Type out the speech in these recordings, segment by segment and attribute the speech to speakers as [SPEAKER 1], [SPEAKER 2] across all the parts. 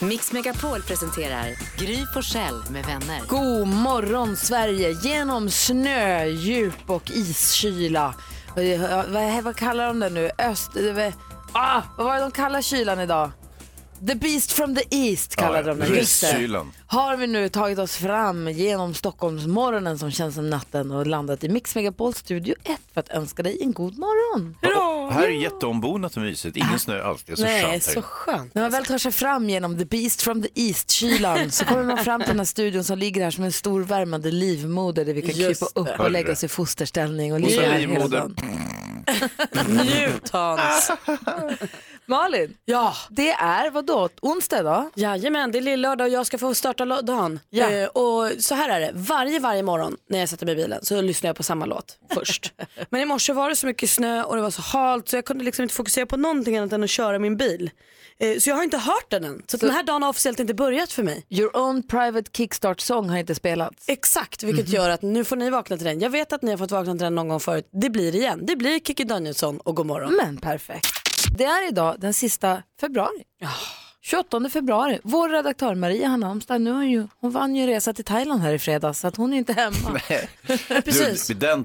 [SPEAKER 1] Mix Megapol presenterar Gry Forssell med vänner.
[SPEAKER 2] God morgon Sverige! Genom snö, djup och iskyla. Eh, Vad, vad kallar de det nu? Öst... eh, vad- Ah, vad var det de kallar kylan idag? The Beast from the East kallade de den. just det.
[SPEAKER 3] Rysskylan.
[SPEAKER 2] Har vi nu tagit oss fram genom Stockholmsmorgonen som känns som natten och landat i Mix Megapol Studio 1 för att önska dig en god morgon.
[SPEAKER 3] Här är jätteombonat och mysigt.
[SPEAKER 2] Ah.
[SPEAKER 3] Ingen snö alls. Det är så
[SPEAKER 4] Nej,
[SPEAKER 3] skönt här.
[SPEAKER 4] så skönt. alltså.
[SPEAKER 2] När man väl tar sig fram genom the beast from the east-kylan så kommer man fram till den här studion som ligger här som en stor värmande livmoder där vi kan
[SPEAKER 4] Just
[SPEAKER 2] krypa upp och
[SPEAKER 3] Hörde
[SPEAKER 2] lägga
[SPEAKER 3] det.
[SPEAKER 2] oss i fosterställning och
[SPEAKER 3] Och
[SPEAKER 2] ligga
[SPEAKER 3] sen
[SPEAKER 2] här hela
[SPEAKER 3] livmodern.
[SPEAKER 2] dagen.
[SPEAKER 4] Njut Hans.
[SPEAKER 2] Malin,
[SPEAKER 4] Ja.
[SPEAKER 2] det är vadå? Onsdag idag?
[SPEAKER 4] Jajamän, det är lillördag och jag ska få starta lo- dagen.
[SPEAKER 2] Ja.
[SPEAKER 4] Eh, och så här är det, varje, varje morgon när jag sätter mig i bilen så lyssnar jag på samma låt först. Men i morse var det så mycket snö och det var så halt så jag kunde liksom inte fokusera på någonting annat än att köra min bil. Eh, så jag har inte hört den än. Så, att den här dagen har officiellt inte börjat för mig.
[SPEAKER 2] Your own private kickstart-sång har inte spelats.
[SPEAKER 4] Exakt, vilket
[SPEAKER 3] Mhm.
[SPEAKER 2] Mhm.
[SPEAKER 4] gör att nu får ni vakna till den. Jag vet att ni har fått vakna till den någon gång förut. Det blir det igen. Det blir Kikki Danielsson och god morgon.
[SPEAKER 2] Men perfekt. Det är idag den sista februari. 28 februari. Vår redaktör Maria Hanna Amstad, nu har ju, hon vann ju en resa till Thailand här i fredags så att hon är inte hemma.
[SPEAKER 4] Precis.
[SPEAKER 3] Du, den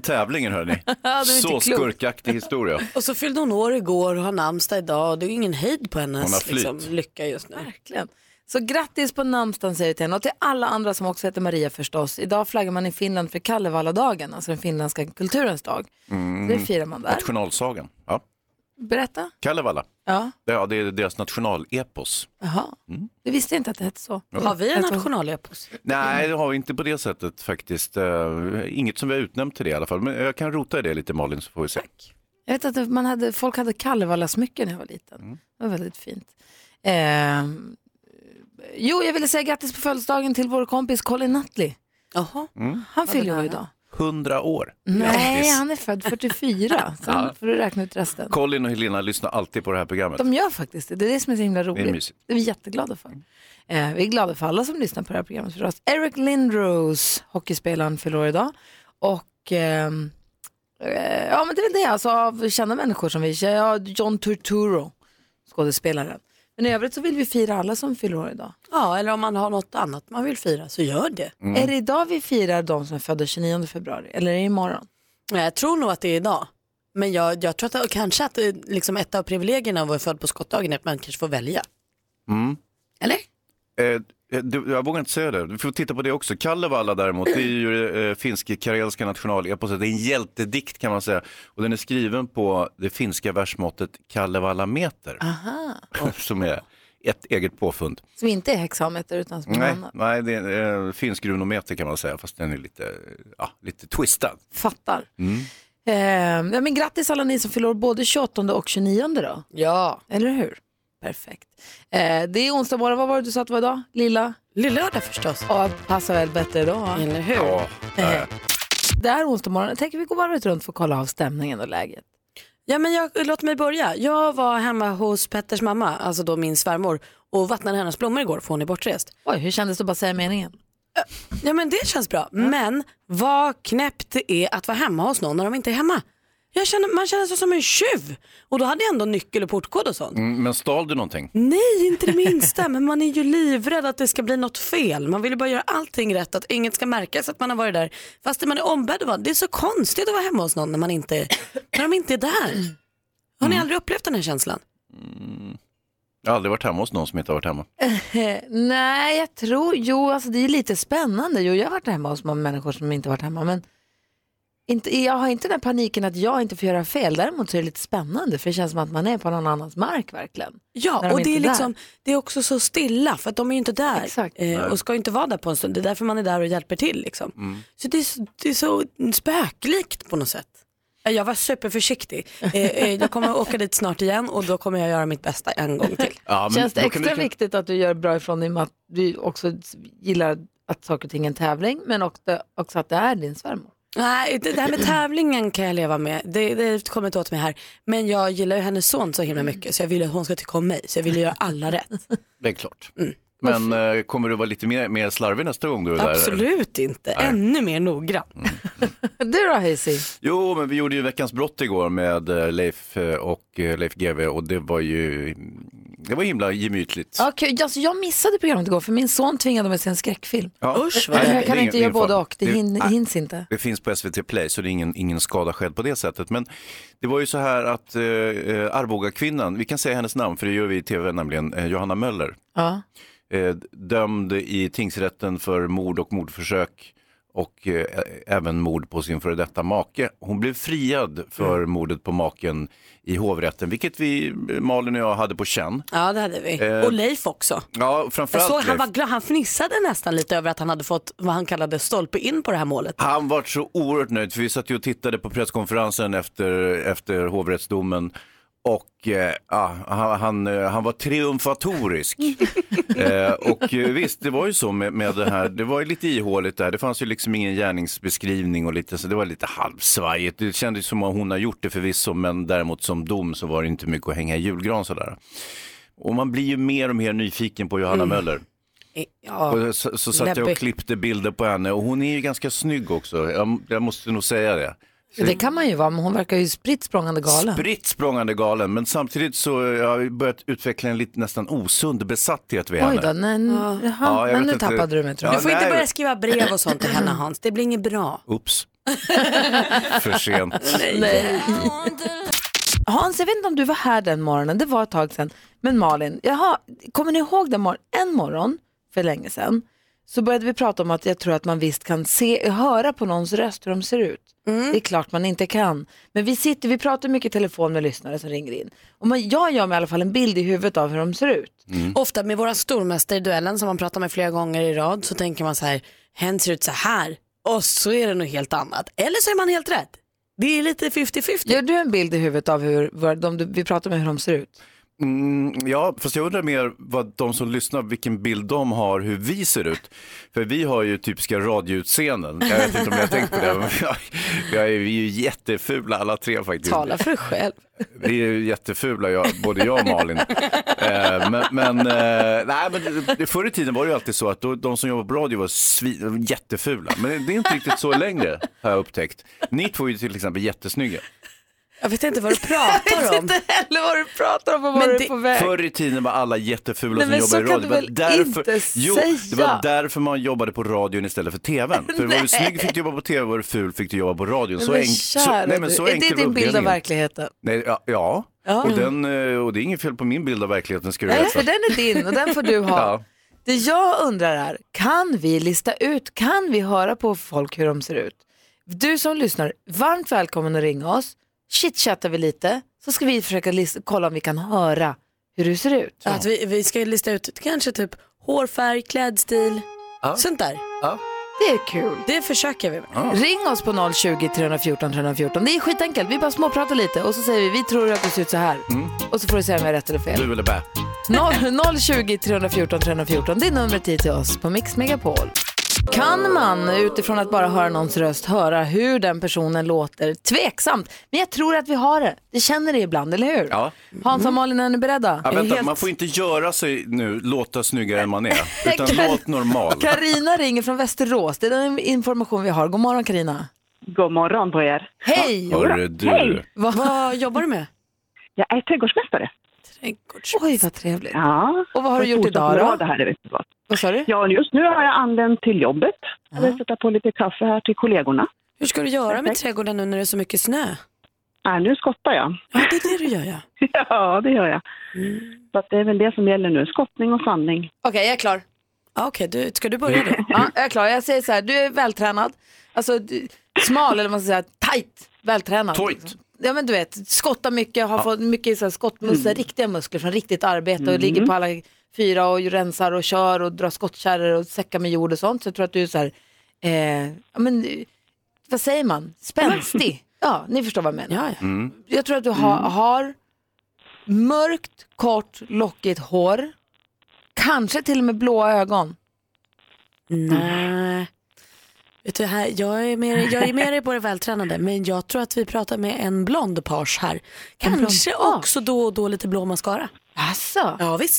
[SPEAKER 3] tävlingen hörni.
[SPEAKER 2] var inte
[SPEAKER 3] så
[SPEAKER 2] klokt.
[SPEAKER 3] skurkaktig historia.
[SPEAKER 4] Och så fyllde hon år igår och har namnsdag idag och det är ju ingen hejd på
[SPEAKER 3] Hon har
[SPEAKER 4] hennes
[SPEAKER 3] flyt.
[SPEAKER 4] liksom, lycka just nu.
[SPEAKER 2] Verkligen. Så grattis på namnsdagen säger vi till henne och till alla andra som också heter Maria förstås. Idag flaggar man i Finland för Kalevala-dagen, alltså den finländska kulturens dag. Så det firar man där.
[SPEAKER 3] Nationalsagan. Ja.
[SPEAKER 2] Berätta.
[SPEAKER 3] Kalevala.
[SPEAKER 2] Ja,
[SPEAKER 3] Ja, det är deras nationalepos.
[SPEAKER 2] jaha. Det visste jag inte att det hette så.
[SPEAKER 4] Har vi en nationalepos?
[SPEAKER 3] Nej, det har vi inte på det sättet faktiskt. Eh, inget som vi har utnämnt till det i alla fall. Men jag kan rota i det lite Malin så får vi se.
[SPEAKER 2] Jag vet att man hade, folk hade Kalevala-smycken när jag var liten. Det var väldigt fint. Ehm, jo, jag ville säga grattis på födelsedagen till vår kompis Colin Nutley.
[SPEAKER 4] Jaha.
[SPEAKER 2] Han fyller år idag.
[SPEAKER 3] 100 Mm. år.
[SPEAKER 2] Nej,
[SPEAKER 3] Grattis.
[SPEAKER 2] han är född 44. Så ja. får du räkna ut resten.
[SPEAKER 3] Colin och Helena lyssnar alltid på det här programmet.
[SPEAKER 2] De gör faktiskt det. Det är det som är så himla roligt.
[SPEAKER 3] mysigt.
[SPEAKER 2] Det är vi jätteglada för. Eh, vi är glada för alla som lyssnar på det här programmet förstås. Eric Lindros, hockeyspelaren, fyller år idag. Och ehm, eh, ja, men det är väl det alltså av kända människor som vi ja, John Turturro, skådespelaren. Men i övrigt så vill vi fira alla som fyller år idag.
[SPEAKER 4] Ja, eller om man har något annat man vill fira så gör det.
[SPEAKER 3] Mm.
[SPEAKER 2] Är det idag vi firar de som är födda 29 februari eller är det imorgon?
[SPEAKER 4] Nej, Jag tror nog att det är idag. Men jag, jag tror att det, kanske att eh, liksom ett av privilegierna av att vara född på skottdagen är att man kanske får välja. Eller?
[SPEAKER 3] Eh, eh, du, jag vågar inte säga det. Vi får titta på det också. Kalevala däremot, det är ju eh, finsk-karelska nationaleposet. Det är en hjältedikt kan man säga. Och den är skriven på det finska versmåttet Kalevala-meter. som är ett eget påfund.
[SPEAKER 2] Som inte är hexameter utan som är något
[SPEAKER 3] Nej,
[SPEAKER 2] annat.
[SPEAKER 3] nej, det är eh, finsk runometer kan man säga, fast den är lite, eh, ja, lite twistad. Mm.
[SPEAKER 2] Fattar. Eh, ja, men grattis alla ni som fyller år både 28 och 29 då.
[SPEAKER 4] Ja.
[SPEAKER 2] Eller hur? Perfekt. Eh, det är onsdag morgon. Vad var det du sa att det var idag? Lilla?
[SPEAKER 4] Lillördag förstås.
[SPEAKER 2] Ja, passar väl bättre idag.
[SPEAKER 4] Eller hur?
[SPEAKER 3] Ja, eh,
[SPEAKER 2] Det är onsdag morgon. Jag tänker vi går varvet runt för att kolla av stämningen och läget.
[SPEAKER 4] Ja, men jag, låt mig börja. Jag var hemma hos Petters mamma, alltså då min svärmor, och vattnade hennes blommor igår för hon är bortrest.
[SPEAKER 2] Oj, hur kändes det att bara säga meningen? Mm.
[SPEAKER 4] Ja men det känns bra. Men vad knäppt det är att vara hemma hos någon när de inte är hemma. Jag känner, man känner sig som en tjuv. Och då hade jag ändå nyckel och portkod och sånt.
[SPEAKER 3] mm, men stal du någonting?
[SPEAKER 4] Nej, inte det minsta. Men man är ju livrädd att det ska bli något fel. Man vill ju bara göra allting rätt, att inget ska märkas att man har varit där. Fast man är ombedd att vara. Det är så konstigt att vara hemma hos någon när, man inte, när de inte är där. Har
[SPEAKER 2] Mm.
[SPEAKER 4] ni aldrig upplevt den här känslan?
[SPEAKER 3] Jag har aldrig varit hemma hos någon som inte har varit hemma.
[SPEAKER 2] Eh, nej, jag tror... Jo, alltså det är lite spännande. Jo, jag har varit hemma hos många människor som inte varit hemma. Men inte, jag har inte den här paniken att jag inte får göra fel. Däremot så är det lite spännande för det känns som att man är på någon annans mark verkligen. När
[SPEAKER 4] Ja,
[SPEAKER 2] de
[SPEAKER 4] och
[SPEAKER 2] inte
[SPEAKER 4] det är,
[SPEAKER 2] är där.
[SPEAKER 4] liksom, det är också så stilla för att de är ju inte där
[SPEAKER 2] Exakt.
[SPEAKER 4] Eh, och ska ju inte vara där på en stund. Det är därför man är där och hjälper till. Liksom.
[SPEAKER 5] Mm.
[SPEAKER 4] Så, det är så det är så spöklikt på något sätt. Eh, Jag var superförsiktig. Eh, eh, jag kommer att åka dit snart igen och då kommer jag göra mitt bästa en gång till.
[SPEAKER 3] Ja, men
[SPEAKER 2] Känns det
[SPEAKER 3] då kan
[SPEAKER 2] extra
[SPEAKER 3] du-
[SPEAKER 2] viktigt att du gör bra ifrån dig med att du också gillar att saker och ting är en tävling, men också, också att det är din svärmor.
[SPEAKER 6] Nej, det det här med tävlingen kan jag leva med. Det, det kommer inte åt mig här. Men jag gillar ju hennes son så himla mycket så jag vill ju att hon ska tycka om mig. Så jag vill ju göra alla rätt.
[SPEAKER 3] Det är klart. Men eh, kommer du vara lite mer, mer slarvig nästa gång du är där?
[SPEAKER 6] Absolut inte. Ännu mer noggrann.
[SPEAKER 2] Mm. Du då Hazy?
[SPEAKER 3] Jo, men vi gjorde ju Veckans brott igår med eh, Leif eh, och eh, Leif GW och det var ju det var himla gemytligt.
[SPEAKER 2] Okay, alltså jag missade programmet igår för min son tvingade mig att se en skräckfilm. Eh,
[SPEAKER 3] Ja.
[SPEAKER 6] Usch,
[SPEAKER 3] Nej,
[SPEAKER 6] vad
[SPEAKER 3] det är
[SPEAKER 2] jag kan
[SPEAKER 3] ingen-
[SPEAKER 2] inte göra
[SPEAKER 3] ingen
[SPEAKER 2] både
[SPEAKER 3] fara.
[SPEAKER 2] och, det hin, hinns inte.
[SPEAKER 3] Det finns på SVT Play så det är ingen, ingen skada skedd på det sättet. Men det var ju så här att eh, Arboga kvinnan, vi kan säga hennes namn för det gör vi i tv nämligen, eh, Johanna Möller,
[SPEAKER 2] Ja.
[SPEAKER 3] eh, dömd i tingsrätten för mord och mordförsök och eh, även mord på sin före detta make. Hon blev friad för mordet på maken i hovrätten, vilket vi, eh, Malin och jag, hade på känn.
[SPEAKER 6] Ja det hade vi.
[SPEAKER 3] Eh,
[SPEAKER 6] Och Leif också.
[SPEAKER 3] Ja,
[SPEAKER 6] Jag
[SPEAKER 3] framförallt
[SPEAKER 6] såg, han,
[SPEAKER 3] Leif.
[SPEAKER 6] var glad, han fnissade nästan lite över att han hade fått vad han kallade stolpe in på det här målet.
[SPEAKER 3] Han var så oerhört nöjd, för vi satt ju och tittade på presskonferensen efter, efter hovrättsdomen. Och eh, ah, han, han, eh, han var triumfatorisk. eh, och eh, visst, det var ju så med, med det här. Det var ju lite ihåligt där. Det fanns ju liksom ingen gärningsbeskrivning och lite så. Det var lite halvsvajigt. Det kändes som att hon har gjort det förvisso, men däremot som dom så var det inte mycket att hänga i julgran sådär. Och man blir ju mer och mer nyfiken på
[SPEAKER 6] Mm.
[SPEAKER 3] Johanna Möller.
[SPEAKER 6] Eh,
[SPEAKER 2] Ja.
[SPEAKER 3] Och så, så satt jag
[SPEAKER 2] Läppig.
[SPEAKER 3] och klippte bilder på henne och hon är ju ganska snygg också. Jag, jag måste nog säga det.
[SPEAKER 2] Det kan man ju vara, men hon verkar ju spritt språngande galen.
[SPEAKER 3] Spritt språngande galen, men samtidigt så jag har jag börjat utveckla en lite nästan osund besatthet vid
[SPEAKER 2] Oj
[SPEAKER 3] henne.
[SPEAKER 2] då, nej, jaha,
[SPEAKER 3] Ja,
[SPEAKER 2] men
[SPEAKER 3] jag vet
[SPEAKER 2] nu
[SPEAKER 3] inte.
[SPEAKER 2] tappade du mig tror jag.
[SPEAKER 6] Du får inte
[SPEAKER 3] nej.
[SPEAKER 6] börja skriva brev och sånt till henne Hans, det blir inget bra.
[SPEAKER 3] Oops. För sent.
[SPEAKER 2] Hans, jag vet inte om du var här den morgonen, det var ett tag sedan. Men Malin, jaha, kommer ni ihåg den morgon? En morgon för länge sedan så började vi prata om att jag tror att man visst kan se, höra på någons röst hur de ser ut. Det är klart man inte kan. Men vi sitter, vi pratar mycket i telefon med lyssnare som ringer in. Och man, jag gör mig i alla fall en bild i huvudet av hur de ser ut.
[SPEAKER 4] Mm.
[SPEAKER 5] Mm.
[SPEAKER 6] Ofta med våra stormästare i duellen som man pratar med flera gånger i rad så tänker man så här, hen ser ut så här och så är det något helt annat. Eller så är man helt rätt. Det är lite 50-50.
[SPEAKER 2] Gör du en bild i huvudet av hur vad de, du- vi pratar med hur de ser ut?
[SPEAKER 3] Mm, ja, fast jag undrar mer vad de som lyssnar, vilken bild de har hur vi ser ut. För vi har ju typiska radioutseenden. Jag vet inte om jag har tänkt på det. Men jag, jag är vi är ju jättefula alla tre faktiskt.
[SPEAKER 2] Tala för dig själv.
[SPEAKER 3] Vi är ju jättefula, jag, både jag och Malin. eh, men men, eh, nej, men det- förr i tiden var det ju alltid så att då, de som jobbade på radio var svi, jättefula. Men det är inte riktigt så längre, har jag upptäckt. Ni två är ju till exempel jättesnygga.
[SPEAKER 6] Jag vet inte vad du pratar om.
[SPEAKER 2] Eller vad du pratar om och var
[SPEAKER 6] Men
[SPEAKER 2] du är
[SPEAKER 6] det-
[SPEAKER 2] på väg.
[SPEAKER 3] Förr i tiden var alla jättefula
[SPEAKER 2] Nej, men så
[SPEAKER 3] som jobbade i
[SPEAKER 2] kan
[SPEAKER 3] radio.
[SPEAKER 2] du
[SPEAKER 3] Det var
[SPEAKER 2] väl
[SPEAKER 3] därför,
[SPEAKER 2] inte
[SPEAKER 3] jo, det
[SPEAKER 2] säga?
[SPEAKER 3] var därför man jobbade på radion istället för tvn. För var du snygg fick du jobba på tv, var du ful fick du jobba på radion. Så,
[SPEAKER 2] Men
[SPEAKER 3] enk-
[SPEAKER 2] kära
[SPEAKER 3] så, nej, men
[SPEAKER 2] du,
[SPEAKER 3] så
[SPEAKER 2] är
[SPEAKER 3] enkel
[SPEAKER 2] det
[SPEAKER 3] var
[SPEAKER 2] din bild av
[SPEAKER 3] uppdelningen.
[SPEAKER 2] verkligheten?
[SPEAKER 3] Nej, ja, ja. Och, den, eh, och det är inget fel på min bild av verkligheten ska du
[SPEAKER 2] Nej,
[SPEAKER 3] veta.
[SPEAKER 2] för den är din och den får du ha.
[SPEAKER 3] Ja.
[SPEAKER 2] Det jag undrar är, kan vi lista ut, kan vi höra på folk hur de ser ut? Du som lyssnar, varmt välkommen att ringa oss. Chitchattar vi lite så ska vi försöka lista, kolla om vi kan höra hur du ser ut.
[SPEAKER 6] Att vi, vi ska lista ut kanske typ hårfärg, klädstil, sånt där.
[SPEAKER 2] Det är kul.
[SPEAKER 6] Det försöker vi med.
[SPEAKER 2] Ring oss på 020 314 314. Det är skitenkelt, vi bara småpratar lite och så säger vi, vi tror att du ser ut så här. Och så får du säga om jag är rätt eller fel.
[SPEAKER 3] Du eller bä.
[SPEAKER 2] 020 314 314, det är numret hit till oss på Mix Megapol. Kan man utifrån att bara höra någons röst höra hur den personen låter? Tveksamt, men jag tror att vi har det. Vi känner det ibland, eller hur?
[SPEAKER 3] Ja.
[SPEAKER 2] Hans och Malin, är ni beredda?
[SPEAKER 3] Ja, vänta,
[SPEAKER 6] helt-
[SPEAKER 3] Man får inte göra sig nu låta snyggare än man är, utan
[SPEAKER 2] Kar-
[SPEAKER 3] låt normal.
[SPEAKER 2] Karina ringer från Västerås, det är den information vi har. God morgon Karina.
[SPEAKER 7] God morgon på er.
[SPEAKER 2] Hej!
[SPEAKER 3] Hörru du,
[SPEAKER 7] Hej.
[SPEAKER 6] Vad jobbar du med?
[SPEAKER 7] Jag är trädgårdsmästare.
[SPEAKER 6] Trädgårds...
[SPEAKER 2] Oj, vad trevligt.
[SPEAKER 7] Ja.
[SPEAKER 2] Eh, Och vad har du gjort
[SPEAKER 7] Fortsatt
[SPEAKER 2] idag
[SPEAKER 7] bra
[SPEAKER 2] då?
[SPEAKER 7] Det här är rätt bra.
[SPEAKER 2] Vad sa du?
[SPEAKER 7] ja, just nu har jag anlänt till jobbet. Jag vill sätta på lite kaffe här till kollegorna.
[SPEAKER 6] Hur ska du göra med trädgården nu när det är så mycket snö?
[SPEAKER 7] Nej, nu skottar jag.
[SPEAKER 6] Ja, det är det du gör ja.
[SPEAKER 7] ja, det gör jag.
[SPEAKER 2] Mm.
[SPEAKER 7] Så att det är väl det som gäller nu. Skottning och sandning.
[SPEAKER 2] Okej, jag är klar.
[SPEAKER 6] Ah, Okej, du, ska du börja då?
[SPEAKER 2] Ja, jag är klar. Jag säger så här, du är vältränad. Alltså du, smal eller vad man ska säga, tajt. Vältränad.
[SPEAKER 3] Tojt.
[SPEAKER 2] Ja men du vet, skottar mycket, har fått mycket så här skottmuskler, riktiga muskler från riktigt arbete och ligger på alla fyra och rensar och kör och drar skottkärror och säckar med jord och sånt. Så jag tror att du är så här, eh, ja men eh, vad säger man, spänstig. Ja, ni förstår vad jag menar.
[SPEAKER 6] Ja, Mm. ja.
[SPEAKER 5] Mm.
[SPEAKER 2] Jag tror att du har, har mörkt, kort, lockigt hår. Kanske till och med blåa ögon.
[SPEAKER 6] Nej.
[SPEAKER 4] Vet du, här, jag, är med, jag är med dig på det vältränade men jag tror att vi pratar med en blond page här. Kanske också då och då lite blå mascara.
[SPEAKER 2] Alltså,
[SPEAKER 4] Ja visst.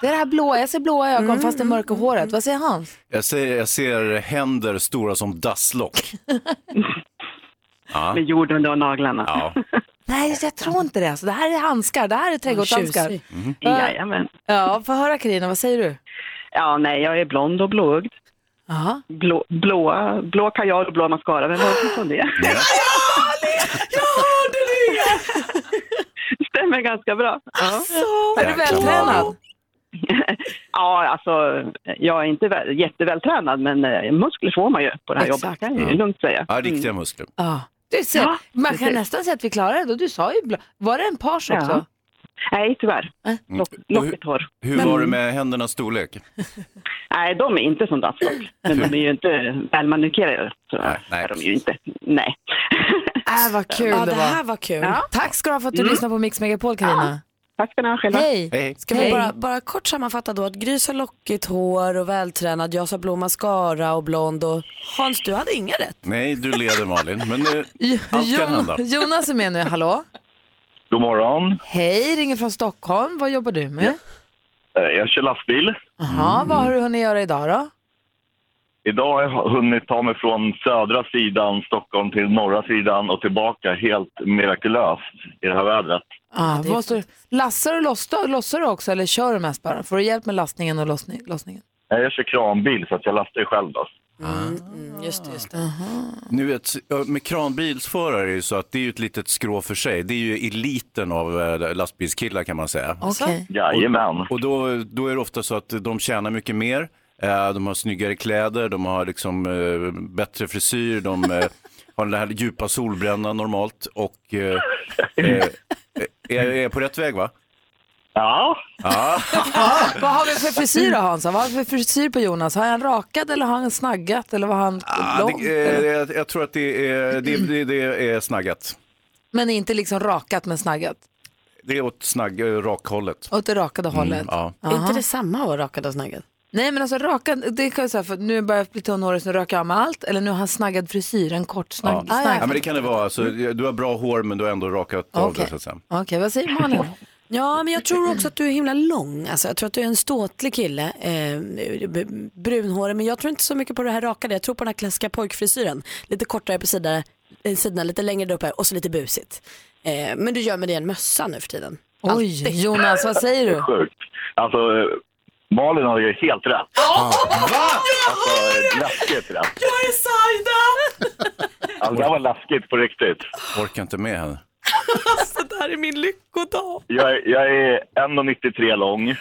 [SPEAKER 2] det är det här blåa. Jag ser blåa ögon fast det mörka håret. Vad säger Hans?
[SPEAKER 3] Jag ser, jag ser händer stora som dasslock.
[SPEAKER 7] Med jorden och naglarna. Mm.
[SPEAKER 3] Ja.
[SPEAKER 2] Nej, jag tror inte det. Alltså, det här är handskar. Det här är trädgårdshandskar.
[SPEAKER 4] Tjusig.
[SPEAKER 7] Mm-hmm. Jajamän.
[SPEAKER 2] Ja, få höra Carina, vad säger du?
[SPEAKER 7] Ja, nej, jag är blond och blåögd.
[SPEAKER 2] Aha.
[SPEAKER 7] Blå, blå, blå kajal och blå mascara. Vem var det som sa det?
[SPEAKER 3] Ja.
[SPEAKER 7] Stämmer ganska bra. Ja,
[SPEAKER 2] Alltså, Är du
[SPEAKER 3] Jäklar, vad-
[SPEAKER 2] vältränad?
[SPEAKER 7] ja alltså, jag är inte väl, jättevältränad, men eh, muskler får man ju på det här jobbet.
[SPEAKER 2] Exakt.
[SPEAKER 7] kan jag ju lugnt säga.
[SPEAKER 3] Ja, riktiga muskler.
[SPEAKER 2] Ja. Du ser,
[SPEAKER 7] Ja,
[SPEAKER 2] man kan
[SPEAKER 7] precis.
[SPEAKER 2] nästan säga att vi klarade det. Och Du sa ju blå. Var det en page
[SPEAKER 7] Ja.
[SPEAKER 2] också? Äh.
[SPEAKER 7] Nej, tyvärr.
[SPEAKER 3] Mm.
[SPEAKER 7] Lock,
[SPEAKER 3] Och hur,
[SPEAKER 7] locket hår.
[SPEAKER 3] hur var det med händernas storlek?
[SPEAKER 7] Nej, de är inte som dasslock. Men de är ju inte välmanikerade. Så
[SPEAKER 3] Nej, nej,
[SPEAKER 7] är de ju
[SPEAKER 3] precis.
[SPEAKER 7] inte. Nej.
[SPEAKER 2] Äh, vad kul
[SPEAKER 4] Ja,
[SPEAKER 2] det
[SPEAKER 4] det här
[SPEAKER 2] var.
[SPEAKER 4] var kul.
[SPEAKER 2] Tack ska du ha för att du lyssnade på Mix Megapol, Carina.
[SPEAKER 7] Tack ska ni ha själva.
[SPEAKER 2] Hej!
[SPEAKER 3] Hej, hej.
[SPEAKER 4] Kan vi
[SPEAKER 2] Hej.
[SPEAKER 4] bara, bara kort sammanfatta då att Gry sa lockigt hår och vältränad, jag sa blå mascara och blond och Hans du hade inga rätt.
[SPEAKER 3] Nej, du leder Malin, men eh, allt kan hända.
[SPEAKER 2] Jonas är med nu, hallå?
[SPEAKER 8] God morgon.
[SPEAKER 2] Hej, ringer från Stockholm. Vad jobbar du med?
[SPEAKER 8] Eh, Jag kör lastbil.
[SPEAKER 2] Jaha, vad har du hunnit göra idag då?
[SPEAKER 8] Idag har jag hunnit ta mig från södra sidan Stockholm till norra sidan och tillbaka helt mirakulöst i det här vädret.
[SPEAKER 2] Ah, vad står, lassar och lossar, lossar du också eller kör du mest bara? Får du hjälp med lastningen och lossning, lossningen?
[SPEAKER 8] Eh, Jag kör kranbil så att jag lastar ju själv. Då.
[SPEAKER 4] Just det, just det.
[SPEAKER 3] Nu ett, med kranbilsförare är det så att det är ju ett litet skrå för sig. Det är ju eliten av eh, lastbilskillar kan man säga.
[SPEAKER 2] Okej.
[SPEAKER 8] Jajamän.
[SPEAKER 3] Och då, då är det ofta så att de tjänar mycket mer. Eh, De har snyggare kläder, de har liksom eh, bättre frisyr, de eh, har den här djupa solbrännan normalt och eh, eh, är, är på rätt väg va?
[SPEAKER 8] Ja,
[SPEAKER 3] Ja,
[SPEAKER 2] Vad har vi för frisyr då Hansa? Vad har vi för frisyr på Jonas? Har han rakat eller har han snaggat eller var han
[SPEAKER 3] ah,
[SPEAKER 2] lång?
[SPEAKER 3] det, eh, jag, jag tror att det är, det, det, det är snaggat.
[SPEAKER 2] Men inte liksom rakat men snaggat?
[SPEAKER 3] Det är åt snagg, eh, rakhållet.
[SPEAKER 2] Åt det rakade hållet?
[SPEAKER 3] Mm, Ja.
[SPEAKER 4] Är inte det samma att rakad och snaggad?
[SPEAKER 2] Nej men alltså raka, det kan jag säga för att nu börjar jag bli tonårig så nu rakar jag av mig allt eller nu har han snaggad frisyr, en kort snagg. Ah,
[SPEAKER 3] Ja.
[SPEAKER 2] snagg. Mm.
[SPEAKER 3] ja, men det kan det vara. Alltså, du har bra hår men du har ändå rakat av det så att säga.
[SPEAKER 2] Okej, vad säger Malin?
[SPEAKER 4] Ja, men jag tror också att du är himla lång. Alltså, jag tror att du är en ståtlig kille, eh, b- brunhårig. Men jag tror inte så mycket på det här rakade. Jag tror på den här klassiska pojkfrisyren. Lite kortare på sidorna, eh, sidorna lite längre där uppe och så lite busigt. Eh, men du gör med dig en mössa nu för tiden.
[SPEAKER 2] Oj, Jonas, vad säger du?
[SPEAKER 8] sjukt. Alltså, eh, Malin har ju helt rätt. Alltså, eh, läskigt rätt. Jag är Saida! Alltså, det här var läskigt på riktigt.
[SPEAKER 3] Orkar inte med henne.
[SPEAKER 4] Alltså,
[SPEAKER 8] Jag, är- jag är 1,93 lång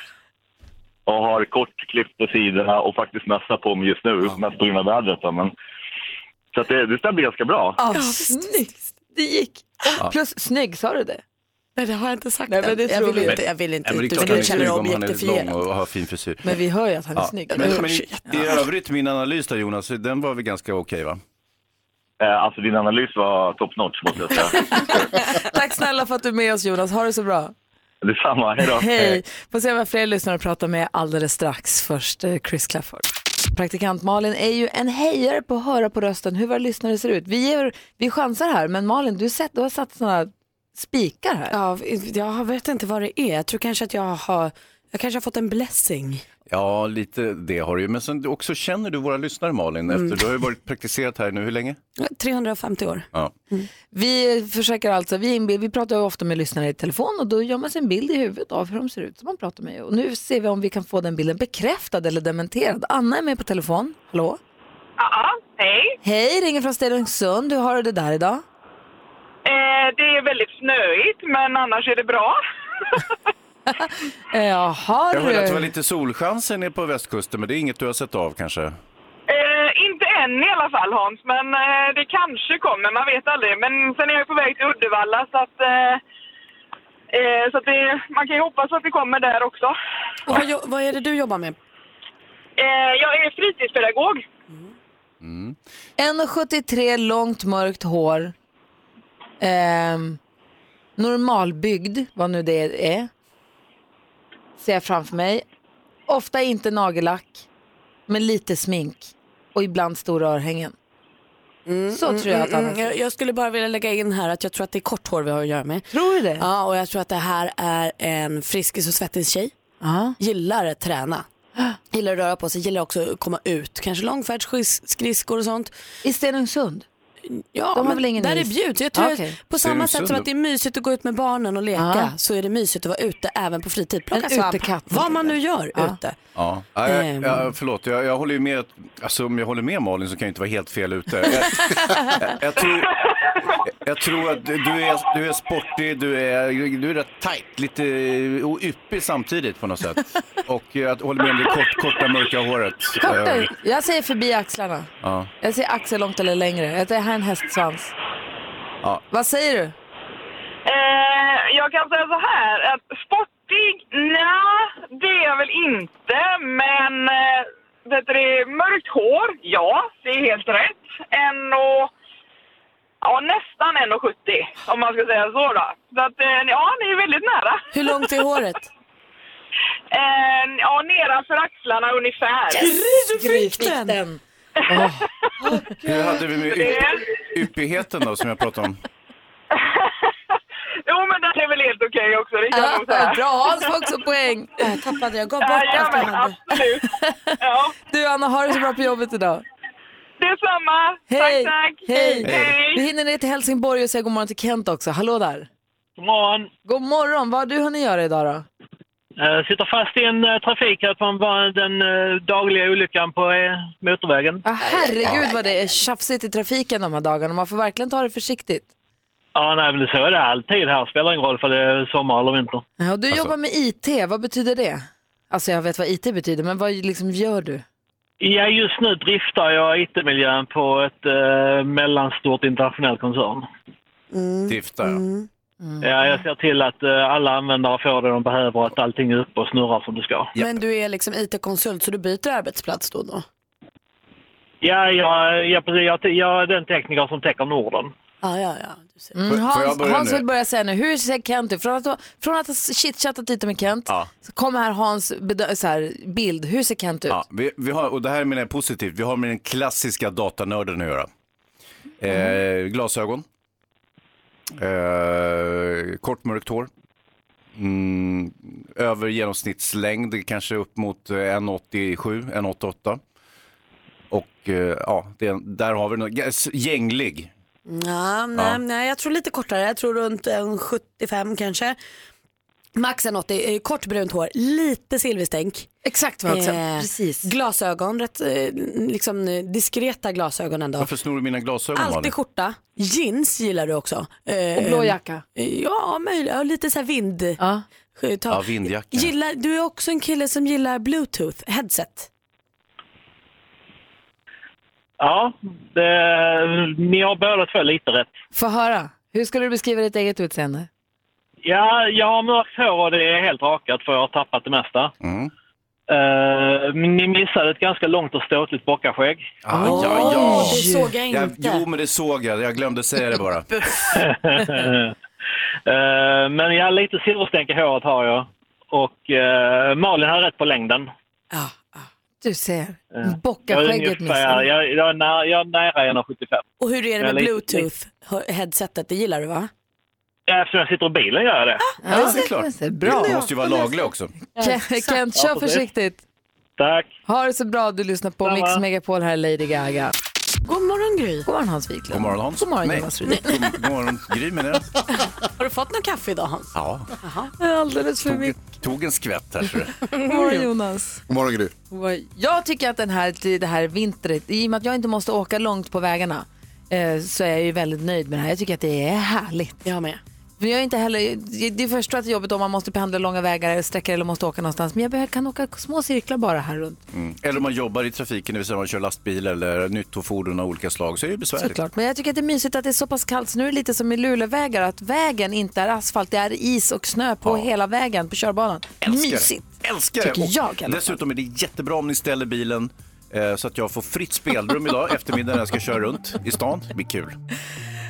[SPEAKER 8] och har kort klipp på sidorna och faktiskt mössa på mig just nu, mest på grund av vädret. då, Men... Så att det, det ska bli ganska bra.
[SPEAKER 2] Ja, Ah, snyggt, det gick. Plus snygg, sa du det?
[SPEAKER 4] Nej, det har jag inte sagt
[SPEAKER 2] Nej, men
[SPEAKER 4] än.
[SPEAKER 2] det
[SPEAKER 4] jag,
[SPEAKER 2] tror
[SPEAKER 4] vill
[SPEAKER 2] jag.
[SPEAKER 4] inte, jag vill inte.
[SPEAKER 3] Nej, men det är
[SPEAKER 4] Du
[SPEAKER 3] klart han är
[SPEAKER 4] vill känna dig
[SPEAKER 3] snygg om han är lång
[SPEAKER 4] objektifierad.
[SPEAKER 3] och har fin frisyr.
[SPEAKER 2] Men vi hör ju att han är
[SPEAKER 3] Ja.
[SPEAKER 2] snygg.
[SPEAKER 3] Men, men i, i övrigt, min analys där Jonas, den var väl ganska okej va?
[SPEAKER 8] Eh, alltså din analys var top notch måste jag säga.
[SPEAKER 2] Tack snälla för att du är med oss Jonas, ha det så bra.
[SPEAKER 8] Detsamma, hejdå.
[SPEAKER 2] Hej! Får se vad fler lyssnare pratar med alldeles strax. Först eh, Chris Clafford. Praktikant Malin är ju en hejare på att höra på rösten hur våra lyssnare ser ut. Vi, ger, vi chansar här, men Malin, du, sett, du har satt sådana spikar här.
[SPEAKER 4] Ja, jag vet inte vad det är. Jag tror kanske att jag har, jag kanske har fått en blessing.
[SPEAKER 3] Ja, lite det har du ju. Men sen också känner du våra lyssnare Malin, efter,
[SPEAKER 2] Mm.
[SPEAKER 3] du har ju varit praktiserat här nu, hur länge?
[SPEAKER 4] 350 år.
[SPEAKER 3] Ja.
[SPEAKER 2] Vi försöker alltså, vi, inbild, vi pratar ju ofta med lyssnare i telefon och då gör man sig en bild i huvudet av hur de ser ut som man pratar med. Och nu ser vi om vi kan få den bilden bekräftad eller dementerad. Anna är med på telefon. Hallå?
[SPEAKER 7] Ja, hej.
[SPEAKER 2] Hej, ringer från Stenungsund. Hur har du det där idag?
[SPEAKER 7] Eh, det är väldigt snöigt, men annars är det bra.
[SPEAKER 2] Eh, Jaha
[SPEAKER 3] Jag hörde att det var
[SPEAKER 2] du.
[SPEAKER 3] lite solchanser nere på västkusten, men det är inget du har sett av kanske?
[SPEAKER 7] Eh, inte än i alla fall Hans, men eh, det kanske kommer, man vet aldrig. Men sen är jag på väg till Uddevalla så att, eh, eh, så att det, man kan ju hoppas att det kommer där också.
[SPEAKER 4] Och vad, jo- vad är det du jobbar med?
[SPEAKER 7] Eh, jag är fritidspedagog.
[SPEAKER 2] 1,73 långt mörkt hår. Ehm, normalbyggd, vad nu det är. Ser jag framför mig. Ofta inte nagellack. med lite smink och ibland stora örhängen. Så tror jag att han
[SPEAKER 4] mm, jag, jag skulle bara vilja lägga in här att jag tror att det är kort hår vi har att göra med.
[SPEAKER 2] Tror du det?
[SPEAKER 4] Ja, och jag tror att det här är en Friskis och Svettis-tjej. Gillar att träna. Gillar att röra på sig, gillar också att komma ut. Kanske långfärdsskridskor och sånt.
[SPEAKER 2] I Stenungsund?
[SPEAKER 4] Ja,
[SPEAKER 2] De har
[SPEAKER 4] men
[SPEAKER 2] väl ingen
[SPEAKER 4] där
[SPEAKER 2] is?
[SPEAKER 4] är bjud. Jag tror
[SPEAKER 2] Ja, okej.
[SPEAKER 4] att på samma sätt som
[SPEAKER 3] Stenungsund
[SPEAKER 4] att det är mysigt att gå ut med barnen och leka
[SPEAKER 2] Ja.
[SPEAKER 4] så är det mysigt att vara ute även på fritid. Plocka
[SPEAKER 2] En
[SPEAKER 4] svamp,
[SPEAKER 2] utekatt.
[SPEAKER 4] vad man nu gör ute.
[SPEAKER 3] Ja. Ja, jag, jag, förlåt, jag, jag håller ju med, alltså, om jag håller med Malin så kan jag inte vara helt fel ute. Jag, jag, jag, tror, jag tror att du är, du är sportig, du är, du är rätt tajt, lite och yppig samtidigt på något sätt. Och jag håller med om det kort, korta mörka håret. Eh,
[SPEAKER 2] Korta, jag säger förbi axlarna.
[SPEAKER 3] Ja.
[SPEAKER 2] Jag säger axel långt eller längre. Jag säger här är en hästsvans.
[SPEAKER 3] Ja.
[SPEAKER 2] Vad säger du?
[SPEAKER 7] Eh, jag kan säga så här att sportig, nja, det är jag väl inte. Men eh, vet du, det, mörkt hår, ja, det är helt rätt. En och, ja, nästan 1,70 om man ska säga så då. Så att, eh, ja, ni är väldigt nära.
[SPEAKER 4] Hur långt är håret?
[SPEAKER 7] Eh, ja, nedanför axlarna ungefär.
[SPEAKER 2] Gryften.
[SPEAKER 3] Hur hade vi med ypp, yppigheten då som jag pratade om?
[SPEAKER 7] Jo, men det är väl helt okej också, det kan jag nog säga.
[SPEAKER 2] Bra, Hans får också poäng.
[SPEAKER 4] Äh, tappade jag, gav bort
[SPEAKER 7] Ja,
[SPEAKER 4] allt jag
[SPEAKER 7] men
[SPEAKER 4] hade.
[SPEAKER 7] absolut. Ja,
[SPEAKER 2] Du Anna, har det så bra på jobbet idag.
[SPEAKER 7] detsamma.
[SPEAKER 2] Hej.
[SPEAKER 7] Tack, tack.
[SPEAKER 2] Hej.
[SPEAKER 7] Hej.
[SPEAKER 2] Vi hinner ner till Helsingborg och säga god morgon till Kent också. Hallå där.
[SPEAKER 9] God morgon.
[SPEAKER 2] God morgon, vad har du hunnit göra idag då?
[SPEAKER 9] Eh, sitter fast i en eh, trafik här från bara den eh, dagliga olyckan på eh, motorvägen.
[SPEAKER 2] Ja, herregud vad det är tjafsigt i trafiken de här dagarna. Man får verkligen ta det försiktigt.
[SPEAKER 9] Ja, nej, men så är det alltid här. Spelar ingen roll för det är sommar eller vinter.
[SPEAKER 2] Ja, Och du
[SPEAKER 9] Alltså-
[SPEAKER 2] jobbar med IT, vad betyder det? Alltså jag vet vad IT betyder, men vad liksom gör du?
[SPEAKER 9] Ja, just nu driftar jag IT-miljön på ett eh, mellanstort internationell koncern.
[SPEAKER 3] Drifta, ja.
[SPEAKER 2] Mm.
[SPEAKER 9] Ja, jag ser till att eh, alla användare får det de behöver och att allting är uppe och snurrar som det ska.
[SPEAKER 4] Men du är liksom IT-konsult så du byter arbetsplats då och då?
[SPEAKER 9] Ja, jag, ja, precis, jag, jag är den tekniker som täcker Norden.
[SPEAKER 4] Ja, ja, ja. Du ser.
[SPEAKER 2] Mm,
[SPEAKER 3] Får- får jag
[SPEAKER 2] Hans,
[SPEAKER 3] börja
[SPEAKER 2] Hans
[SPEAKER 3] nu?
[SPEAKER 2] vill börja säga nu, hur ser Kent ut? Från att, ha- från att ha chitchattat lite med Kent,
[SPEAKER 3] Ja.
[SPEAKER 2] så kommer här Hans bedö- så här, bild. Hur ser Kent ut?
[SPEAKER 3] Ja, vi, vi har, och det här menar jag positivt, vi har med den klassiska datanörden att göra. Eh, glasögon. Eh, kort mörkt hår. Mm, över genomsnittslängd, kanske upp mot eh, 1,87, 1,88. Och eh, ja, det, där har vi den. G- Gänglig.
[SPEAKER 4] Ja, nej, nej, jag tror lite kortare. Jag tror runt en 75 kanske. Max en 80, eh, kort brunt hår, lite silverstänk.
[SPEAKER 2] Exakt vad han sa.
[SPEAKER 4] Eh,
[SPEAKER 2] Precis.
[SPEAKER 4] Glasögon, rätt eh, liksom eh, diskreta glasögon ändå.
[SPEAKER 3] Varför snor du mina glasögon Malin?
[SPEAKER 4] Alltid skjorta, jeans gillar du också. Eh,
[SPEAKER 2] Och blå jacka.
[SPEAKER 4] eh, Ja, möjligt. Ja, lite så här vind.
[SPEAKER 2] Ja.
[SPEAKER 4] eh, ta-
[SPEAKER 3] Ja, vindjacka.
[SPEAKER 4] Gillar, du är också en kille som gillar bluetooth headset.
[SPEAKER 9] Ja, det, ni har båda två lite rätt.
[SPEAKER 2] Få höra, hur skulle du beskriva ditt eget utseende?
[SPEAKER 9] Ja, jag har mörkt hår och det är helt rakat för jag har tappat det mesta.
[SPEAKER 3] Mm.
[SPEAKER 9] Eh, men ni missade ett ganska långt och ståtligt bockaskägg.
[SPEAKER 3] Ah, ja, ja.
[SPEAKER 4] Det såg jag
[SPEAKER 3] Jag,
[SPEAKER 4] inte.
[SPEAKER 3] jo, men det såg jag. Jag glömde säga det bara.
[SPEAKER 9] Eh, men jag har lite silverstänk i håret har jag. Och eh, Malin har rätt på längden. Eh,
[SPEAKER 2] Du ser,
[SPEAKER 9] Jag är
[SPEAKER 2] bockaskägget
[SPEAKER 9] ungefär,
[SPEAKER 2] missar.
[SPEAKER 9] jag, jag, är nära, jag är nära 175.
[SPEAKER 4] Och hur är det med
[SPEAKER 9] Jag är lite-
[SPEAKER 4] bluetooth headsetet? Det gillar du va?
[SPEAKER 9] Eftersom jag sitter i bilen gör jag
[SPEAKER 4] Ah,
[SPEAKER 9] det.
[SPEAKER 2] Ja,
[SPEAKER 3] det är klart.
[SPEAKER 2] Bra.
[SPEAKER 3] Du måste ju vara laglig också.
[SPEAKER 2] Kent, Kent, kör
[SPEAKER 9] Ja, precis.
[SPEAKER 2] försiktigt.
[SPEAKER 9] Tack.
[SPEAKER 2] Ha det så bra, du lyssnar på Mix
[SPEAKER 9] Detsamma.
[SPEAKER 2] Megapol, här är Lady Gaga.
[SPEAKER 4] God morgon Gry.
[SPEAKER 2] God morgon Hans Wiklund.
[SPEAKER 3] God morgon Hans.
[SPEAKER 2] God morgon
[SPEAKER 3] Nej.
[SPEAKER 2] Jonas Rudin.
[SPEAKER 3] God morgon Gry menar jag.
[SPEAKER 4] Har du fått någon kaffe idag Hans?
[SPEAKER 3] Ja,
[SPEAKER 2] Alldeles för
[SPEAKER 3] tog,
[SPEAKER 2] mycket.
[SPEAKER 3] tog en skvätt här. Så det.
[SPEAKER 2] God morgon Jonas.
[SPEAKER 10] God morgon Gry.
[SPEAKER 2] Vad- Jag tycker att den här, det här vintret, i och med att jag inte måste åka långt på vägarna, eh, så är jag ju väldigt nöjd med det här. Jag tycker att det är härligt.
[SPEAKER 4] Jag med.
[SPEAKER 2] Men jag är inte heller, det är förstå att jobbet om man måste pendla långa vägar eller sträckor eller måste åka någonstans. Men jag behöver- kan åka små cirklar bara här runt.
[SPEAKER 3] mm. Eller om man jobbar i trafiken, det vill säga man kör lastbil eller nyttofordon av olika slag, så är det ju besvärligt.
[SPEAKER 2] Såklart. Men jag tycker att det är mysigt att det är så pass kallt. Så nu är det lite som i Lulevägar, att vägen inte är asfalt, det är is och snö på hela vägen på körbanan.
[SPEAKER 3] Älskar
[SPEAKER 2] Mysigt.
[SPEAKER 3] det. Älskar det.
[SPEAKER 2] Tycker jag i alla
[SPEAKER 3] Och
[SPEAKER 2] fall.
[SPEAKER 3] Dessutom är det jättebra om ni ställer bilen eh, så att jag får fritt spelrum idag eftermiddag när jag ska köra runt i stan. Det blir kul.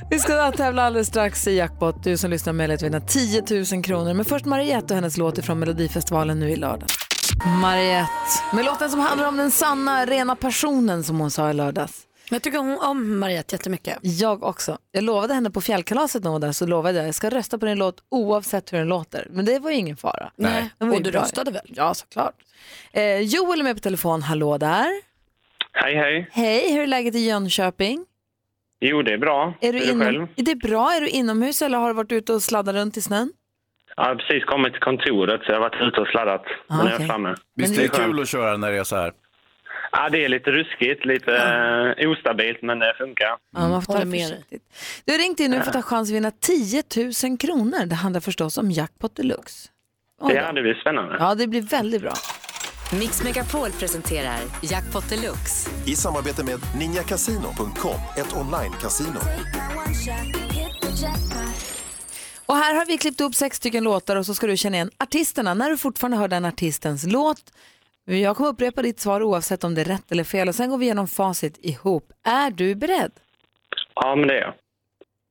[SPEAKER 2] Vi ska tävla alldeles strax i jackpot. Du som lyssnar har möjlighet att vinna 10 000 kronor. Men först Mariette och hennes låt från Melodifestivalen nu i lördag. Mariette. Med låten som handlar om den sanna, rena personen som hon sa i lördags.
[SPEAKER 4] Jag tycker hon, om Mariette jättemycket.
[SPEAKER 2] Jag också. Jag lovade henne på fjällkalaset när hon var där så lovade jag jag ska rösta på din låt oavsett hur den låter. Men det var ju ingen fara.
[SPEAKER 4] Nej.
[SPEAKER 2] Den var ju
[SPEAKER 4] Och du
[SPEAKER 2] bra.
[SPEAKER 4] röstade väl?
[SPEAKER 2] Ja, såklart. Eh, Joel är med på telefon. Hallå där.
[SPEAKER 11] Hej, hej.
[SPEAKER 2] Hej, hur är läget i Jönköping?
[SPEAKER 11] Jo, det är bra.
[SPEAKER 2] Är du
[SPEAKER 11] Hur
[SPEAKER 2] inom...
[SPEAKER 11] själv?
[SPEAKER 2] Är det bra? Är du inomhus eller har du varit ute och sladdat runt i snön?
[SPEAKER 11] Jag har precis kommit till kontoret, så jag har varit ute och sladdat.
[SPEAKER 2] Ah,
[SPEAKER 11] men nu är
[SPEAKER 2] okej.
[SPEAKER 11] jag framme.
[SPEAKER 3] Visst är det
[SPEAKER 11] skönt.
[SPEAKER 3] kul att köra när det är så här?
[SPEAKER 11] Ja, det är lite ruskigt, lite eh, ostabilt, men det funkar.
[SPEAKER 2] Ja, man får ta det försiktigt. Du har ringt in nu för att ta chans att vinna 10 000 kronor. Det handlar förstås om jackpot deluxe. Oj
[SPEAKER 11] Det
[SPEAKER 2] då.
[SPEAKER 11] hade blivit spännande.
[SPEAKER 2] Ja, det blir väldigt bra.
[SPEAKER 1] Mix Megapol presenterar Jackpot Deluxe.
[SPEAKER 12] I samarbete med ninjakasino.com, ett online-casino.
[SPEAKER 2] Och här har vi klippt upp sex stycken låtar och så ska du känna igen artisterna när du fortfarande hör den artistens låt. Jag kommer upprepa ditt svar oavsett om det är rätt eller fel och sen går vi igenom facit ihop. Är du beredd?
[SPEAKER 11] Ja, men det är jag.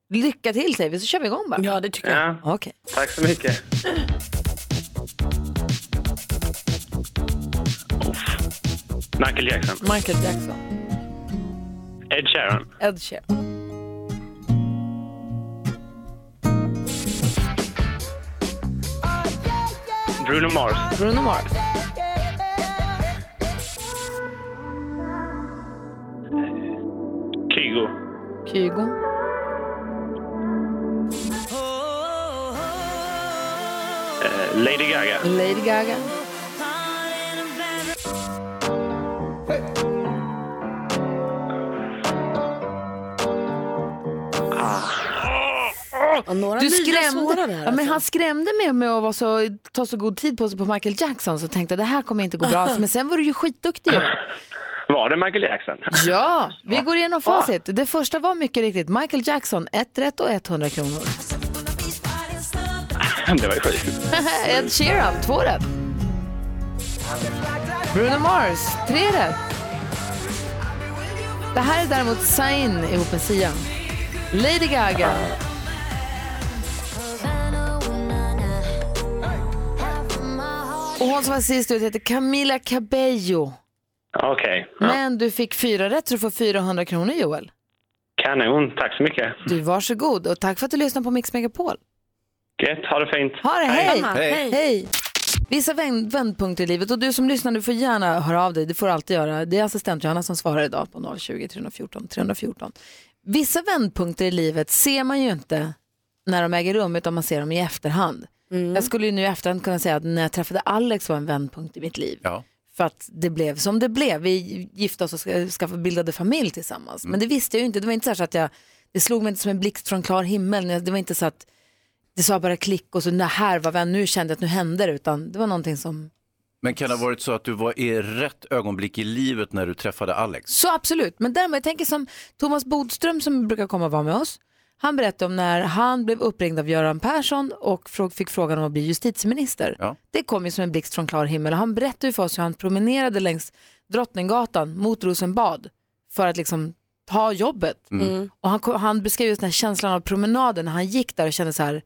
[SPEAKER 2] Lycka till säger vi så kör vi igång bara. Ja, det tycker
[SPEAKER 11] Ja.
[SPEAKER 2] Okej.
[SPEAKER 11] Tack så mycket. Uff. Michael Jackson.
[SPEAKER 2] Michael Jackson.
[SPEAKER 11] Ed Sheeran.
[SPEAKER 2] Ed Sheeran.
[SPEAKER 11] Bruno Mars.
[SPEAKER 2] Bruno Mars.
[SPEAKER 11] Kygo.
[SPEAKER 2] Kygo.
[SPEAKER 11] Eh, Lady Gaga.
[SPEAKER 2] Lady Gaga.
[SPEAKER 13] Ah.
[SPEAKER 4] några
[SPEAKER 2] Du
[SPEAKER 4] nya
[SPEAKER 2] skrämde,
[SPEAKER 4] svåra där
[SPEAKER 2] ja, men
[SPEAKER 4] alltså.
[SPEAKER 2] han skrämde mig med att vara så, ta så god tid på sig på Michael Jackson så tänkte jag det här kommer inte gå bra. alls." Men sen var du ju skitduktig. ju.
[SPEAKER 11] Var det Michael Jackson?
[SPEAKER 2] Ja, vi går igenom facit. Det första var mycket riktigt Michael Jackson, ett rätt och 100 kronor.
[SPEAKER 11] det var ju sjukt.
[SPEAKER 2] Ed Sheeran, två rätt. Bruno Mars, tre rätt. Det här är däremot Zayn ihop med Sia. Lady Gaga. Och hon som var sist ut heter Camila Cabello.
[SPEAKER 11] Okej.
[SPEAKER 2] Men du fick fyra rätt så du får 400 kronor Joel.
[SPEAKER 11] Kanon. Tack så mycket.
[SPEAKER 2] Du, varsågod och tack för att du lyssnade på Mix Megapol.
[SPEAKER 11] Gött. Ha det fint.
[SPEAKER 2] Ha det, hej!
[SPEAKER 11] Hej.
[SPEAKER 2] hej. Vissa vänd- vändpunkter i livet och du som lyssnar du får gärna höra av dig, det får du alltid göra. Det är assistent Johanna som svarar idag på 020 314 314. Vissa vändpunkter i livet ser man ju inte när de äger rum utan man ser dem i efterhand. Jag skulle ju nu i efterhand kunna säga att när jag träffade Alex var en vändpunkt i mitt liv.
[SPEAKER 3] Ja.
[SPEAKER 2] För att det blev som det blev. Vi gifte oss och ska- skaffade bildade familj tillsammans. Men det visste jag ju inte. Det var inte så, här så att jag, det slog mig inte som en blixt från klar himmel. Det var inte så att det sa bara klick och så när här var vän, nu kände jag att nu hände det. Utan det var någonting som,
[SPEAKER 3] Men kan det ha varit så att du var i rätt ögonblick i livet när du träffade Alex?
[SPEAKER 2] så absolut. Men däremot, jag tänker som Thomas Bodström som brukar komma och vara med oss. Han berättade om när han blev uppringd av Göran Persson och frå- fick frågan om att bli justitieminister. Det kom ju som en blixt från klar himmel. Han berättade ju för oss hur han promenerade längs Drottninggatan mot Rosenbad för att liksom ta jobbet.
[SPEAKER 14] Mm.
[SPEAKER 2] Och han, kom- han beskrev just den här känslan av promenaden när han gick där och kände så här,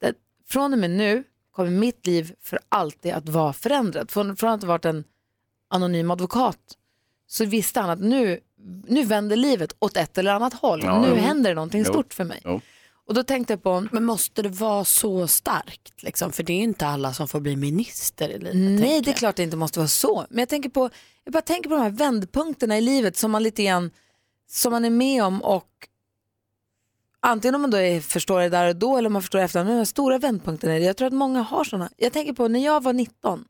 [SPEAKER 2] det, från och med nu kommer mitt liv för alltid att vara förändrat. Från, från att ha varit en anonym advokat så visste han att nu, nu vänder livet åt ett eller annat håll.
[SPEAKER 4] Ja,
[SPEAKER 2] nu
[SPEAKER 4] jo.
[SPEAKER 2] händer det någonting
[SPEAKER 4] Jo.
[SPEAKER 2] stort för mig. Och då tänkte jag på...
[SPEAKER 4] Men måste det vara så starkt? Liksom? För det är ju inte alla som får bli minister i livet.
[SPEAKER 2] Mm, Nej,
[SPEAKER 4] tänker
[SPEAKER 2] det är
[SPEAKER 4] jag.
[SPEAKER 2] klart det inte måste vara så. Men jag tänker på, jag bara tänker på de här vändpunkterna i livet som man lite grann, som man är med om och antingen om man då är, förstår det där och då eller om man förstår det efter, men de här stora vändpunkterna, i det. jag tror att många har sådana. Jag tänker på när jag var 19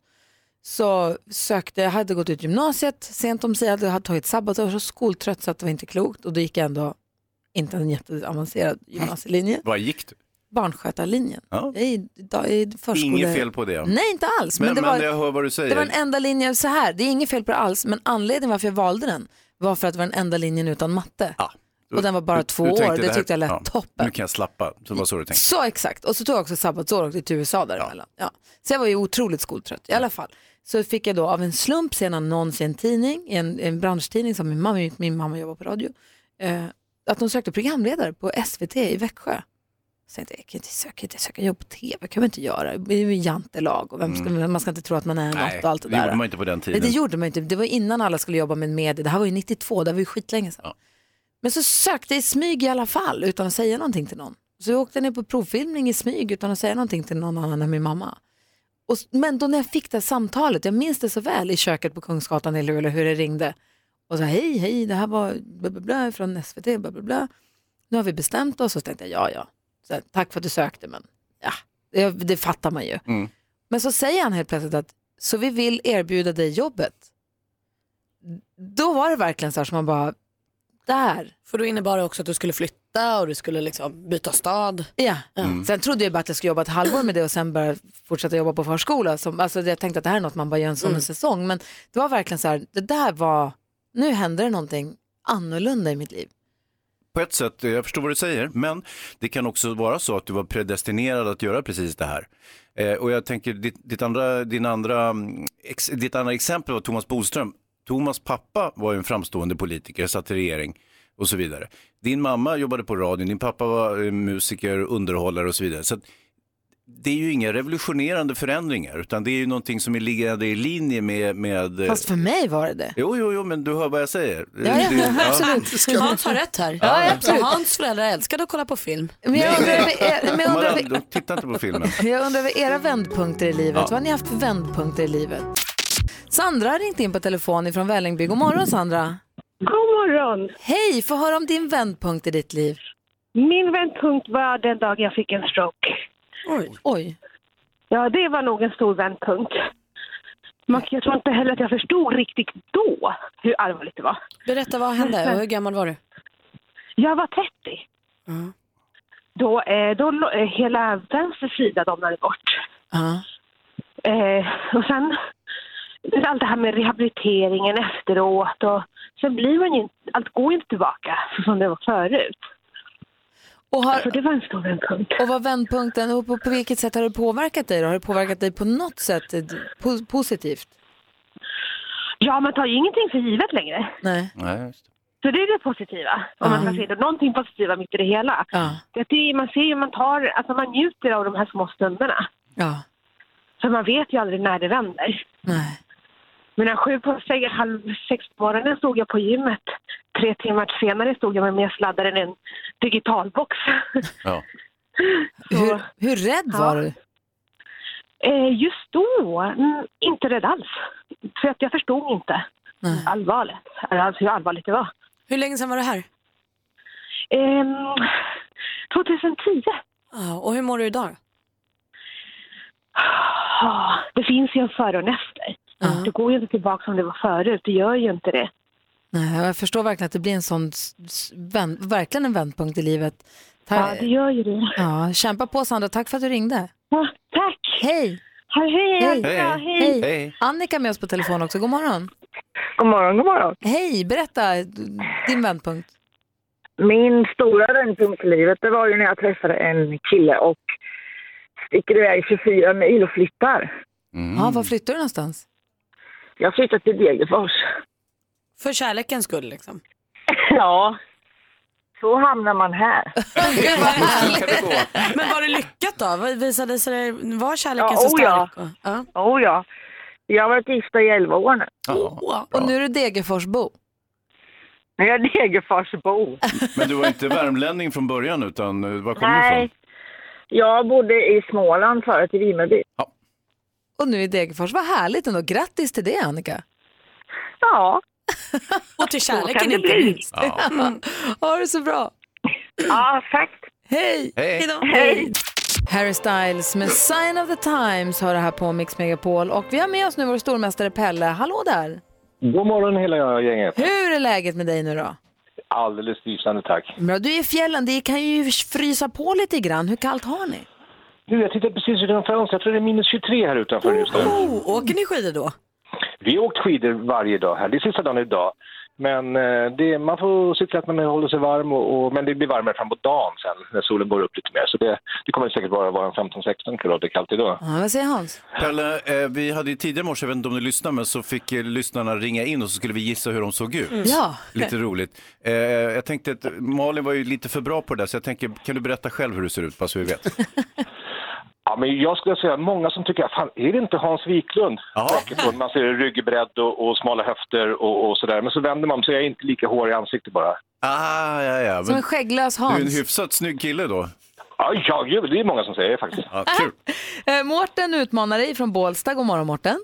[SPEAKER 2] så sökte, jag hade gått ut gymnasiet sent om sig, jag hade- jag hade tagit sabbatsår, jag var så skoltrött så att det var inte klokt och då gick jag ändå inte en jätteavancerad gymnasielinje,
[SPEAKER 3] Vad gick du?
[SPEAKER 2] barnskötarlinjen.
[SPEAKER 3] Ja.
[SPEAKER 2] Jag är i- idag- jag är i förskole...
[SPEAKER 3] Inget fel på det.
[SPEAKER 2] Nej, inte alls.
[SPEAKER 3] Men,
[SPEAKER 2] Men,
[SPEAKER 3] men,
[SPEAKER 2] det var...
[SPEAKER 3] jag hör vad du säger.
[SPEAKER 2] Det var den enda linjen, så här, det är inget fel på det alls, men anledningen varför jag valde den var för att det var den enda linjen utan matte. Och den var bara
[SPEAKER 3] Du-
[SPEAKER 2] två
[SPEAKER 3] du
[SPEAKER 2] år,
[SPEAKER 3] tänkte
[SPEAKER 2] det
[SPEAKER 3] här-
[SPEAKER 2] tyckte jag lät
[SPEAKER 3] ja,
[SPEAKER 2] toppen.
[SPEAKER 3] Nu kan jag slappa, så var så du tänkte.
[SPEAKER 2] Så exakt, och så tog jag också sabbatsår och åkte till USA däremellan. Ja. Så jag var ju otroligt skoltrött i alla fall. Så fick jag då av en slump se en annons i en tidning, i en, en branschtidning som min mamma, min mamma jobbar på radio, eh, att de sökte programledare på SVT i Växjö. Så tänkte jag, jag kan inte söka, jag kan inte söka jobb på tv, kan man inte göra. Det är ju jantelag och vem ska,
[SPEAKER 3] Mm.
[SPEAKER 2] man ska inte tro att man är något och allt det
[SPEAKER 3] det gjorde
[SPEAKER 2] där.
[SPEAKER 3] man inte på den
[SPEAKER 2] Nej,
[SPEAKER 3] tiden.
[SPEAKER 2] det gjorde man ju inte. Det var innan alla skulle jobba med media. Det här var ju 92, det var ju skitlänge sedan. Men så sökte jag i smyg i alla fall utan att säga någonting till någon. Så jag åkte ner på provfilmning i smyg utan att säga någonting till någon annan än min mamma. Och, s- men då när jag fick det här samtalet, jag minns det så väl i köket på Kungsgatan i Luleå hur det ringde. Och sa hej, hej, det här var bla, bla, bla, från SVT, bla, bla, bla. Nu har vi bestämt oss och så tänkte jag ja, ja. Så här, Tack för att du sökte men ja, det, det fattar man ju.
[SPEAKER 3] Mm.
[SPEAKER 2] Men så säger han helt plötsligt att så vi vill erbjuda dig jobbet. Då var det verkligen så här som man bara, där.
[SPEAKER 4] För då innebar det också att du skulle flytta och du skulle liksom byta stad.
[SPEAKER 2] Ja.
[SPEAKER 4] Mm.
[SPEAKER 2] Sen trodde jag bara att jag skulle jobba ett halvår med det och sen börja fortsätta jobba på förskola. Som, alltså jag tänkte att det här är något man bara gör en sån
[SPEAKER 4] Mm.
[SPEAKER 2] säsong. Men det var verkligen så här, det där var, nu hände det någonting annorlunda i mitt liv.
[SPEAKER 3] På ett sätt, eh, jag förstår vad du säger, men det kan också vara så att du var predestinerad att göra precis det här. Eh, och jag tänker, ditt, ditt, andra, din andra, mm, ex, ditt andra exempel var Thomas Bodström. Thomas pappa var ju en framstående politiker, satt i regering och så vidare. Din mamma jobbade på radion, din pappa var eh, musiker, underhållare och så vidare. Så att, det är ju inga revolutionerande förändringar, utan det är ju någonting som är liggande i linje med... med eh,
[SPEAKER 2] Fast för mig var det det.
[SPEAKER 3] Jo, jo, jo, men du hör vad jag säger.
[SPEAKER 2] Ja, ja,
[SPEAKER 3] Det- ja.
[SPEAKER 2] absolut.
[SPEAKER 4] Hans har rätt här.
[SPEAKER 3] Ja, ja, absolut.
[SPEAKER 4] Hans föräldrar älskade att kolla på film.
[SPEAKER 2] Men jag undrar, över er- men jag undrar, över-
[SPEAKER 3] De tittar inte på filmen.
[SPEAKER 2] jag undrar över era vändpunkter i livet.
[SPEAKER 3] Ja.
[SPEAKER 2] Vad har ni haft för vändpunkter i livet? Sandra har ringt in på telefon ifrån Vällingby. God morgon Sandra.
[SPEAKER 14] God morgon.
[SPEAKER 2] Hej, få höra om din vändpunkt i ditt liv.
[SPEAKER 14] Min vändpunkt var den dag jag fick en stroke.
[SPEAKER 2] Oj. Oj.
[SPEAKER 14] Ja, det var nog en stor vändpunkt. Man, jag tror inte heller att jag förstod riktigt då hur allvarligt det var.
[SPEAKER 4] Berätta vad hände och hur gammal var du?
[SPEAKER 14] Jag var 30. Då, eh, då lo- eh, hela vänster sida domnade bort.
[SPEAKER 2] Ja.
[SPEAKER 14] Eh, och sen det är allt det här med rehabiliteringen efteråt och sen blir man ju inte, allt går ju inte tillbaka så som det var förut.
[SPEAKER 2] Och har,
[SPEAKER 14] Så Alltså, det var en stor vändpunkt.
[SPEAKER 2] Och vad vändpunkten, och på, på vilket sätt har det påverkat dig då? Har det påverkat dig på något sätt eh, po- positivt?
[SPEAKER 14] Ja, man tar ju ingenting för givet längre.
[SPEAKER 2] Nej.
[SPEAKER 14] Så det är det positiva. Om man kan se det. Någonting positiva mitt i det hela. Det är, man ser ju, man tar, alltså man njuter av de här små stunderna.
[SPEAKER 2] Ja.
[SPEAKER 14] För man vet ju aldrig när det vänder.
[SPEAKER 2] Nej.
[SPEAKER 14] Men sju på sex, halv sex på morgonen stod jag på gymmet. Tre timmar senare stod jag med mer sladdar än en digitalbox.
[SPEAKER 3] Ja.
[SPEAKER 2] Hur, hur rädd var du?
[SPEAKER 14] Eh, just då, mm, inte rädd alls. För att jag förstod inte allvarligt, alltså hur allvarligt det var.
[SPEAKER 4] Hur länge sedan var det här?
[SPEAKER 14] Ehm, 2010.
[SPEAKER 4] Ja, och hur mår du idag?
[SPEAKER 14] Ja, Ah, det finns ju en före och en efter. Det går ju inte tillbaka som det var förut, det gör ju inte det.
[SPEAKER 2] Nej, jag förstår verkligen att det blir en sån, s- s- vän, verkligen en vändpunkt i livet.
[SPEAKER 14] Ja, det gör ju det.
[SPEAKER 2] Ja, kämpa på Sandra, tack för att du ringde.
[SPEAKER 14] Ja, tack!
[SPEAKER 2] Hej!
[SPEAKER 14] Hej,
[SPEAKER 2] hej,
[SPEAKER 3] Annika, hej.
[SPEAKER 2] hej.
[SPEAKER 3] Hej.
[SPEAKER 2] Annika är med oss på telefon också, god morgon.
[SPEAKER 15] God morgon, god morgon.
[SPEAKER 2] Hej, berätta d- din vändpunkt.
[SPEAKER 15] Min stora vändpunkt i livet det var ju när jag träffade en kille och sticker iväg 24 mil och flyttar.
[SPEAKER 2] Ja, var flyttar du någonstans?
[SPEAKER 15] Jag flyttade till Degerfors.
[SPEAKER 4] För kärlekens skull liksom.
[SPEAKER 15] Ja, så hamnar man här.
[SPEAKER 4] Men var det lyckat då? Vad Visade sig det, var kärleken
[SPEAKER 15] Ja,
[SPEAKER 4] så
[SPEAKER 15] oh ja.
[SPEAKER 4] stark? Och, ja.
[SPEAKER 15] Oh, ja. Jag har varit gifta i 11 år nu.
[SPEAKER 2] Och nu är du Degerforsbo.
[SPEAKER 15] Nu är jag Degerforsbo.
[SPEAKER 3] Men du var inte värmlänning från början, utan eh, var kommer du
[SPEAKER 15] Nej,
[SPEAKER 3] ifrån?
[SPEAKER 15] jag bodde i Småland förut, i Vimmerby.
[SPEAKER 2] Och nu i Degerfors, vad härligt ändå. Grattis till det Annika.
[SPEAKER 15] Ja.
[SPEAKER 4] Och till
[SPEAKER 15] kärleken kan det inte bli. minst.
[SPEAKER 2] Ja. Ha det så bra.
[SPEAKER 15] Ja, tack.
[SPEAKER 2] Hej!
[SPEAKER 3] Hej.
[SPEAKER 2] då. Harry Styles med Sign of the Times har det här på Mix Megapol och vi har med oss nu vår stormästare Pelle. Hallå där!
[SPEAKER 16] God morgon hela gänget.
[SPEAKER 2] Hur är läget med dig nu då?
[SPEAKER 16] Alldeles lysande tack.
[SPEAKER 2] Bra, du är i fjällen, det kan ju frysa på lite grann. Hur kallt har ni?
[SPEAKER 16] Du, jag tittar precis utanför fönstret. Jag tror det är minus 23 här utanför just nu.
[SPEAKER 4] Oh, åker ni skidor då?
[SPEAKER 16] Vi har åkt skidor varje dag här. Det är sista dagen idag. Men eh, det, man får se till att man håller sig varm, och, och, men det blir varmare framåt dagen sen när solen går upp lite mer. Så det, det kommer säkert bara vara en 15-16 grader kallt idag.
[SPEAKER 2] Ja, vad säger Hans?
[SPEAKER 3] Pelle, eh, vi hade ju tidigare i morse, jag vet inte om du lyssnade, men så fick eh, lyssnarna ringa in och så skulle vi gissa hur de såg ut.
[SPEAKER 2] Mm. Ja.
[SPEAKER 3] Lite roligt. Eh, jag tänkte att Malin var ju lite för bra på det där, så jag tänker, kan du berätta själv hur du ser ut, bara så vi vet?
[SPEAKER 16] Ja, men jag skulle säga många som tycker, fan är det inte Hans Wiklund? Bakifrån, Man ser ryggbredd och, och smala höfter och, och sådär. Men så vänder man så är jag inte lika hårig i ansiktet bara.
[SPEAKER 3] Ah, ja, ja.
[SPEAKER 2] Som en skägglös Hans.
[SPEAKER 3] Du är en hyfsat snygg kille då.
[SPEAKER 16] Ja, ja gud, det är många som säger det faktiskt.
[SPEAKER 3] Ja,
[SPEAKER 2] Eh, Mårten utmanar dig från Bålsta. God morgon Mårten.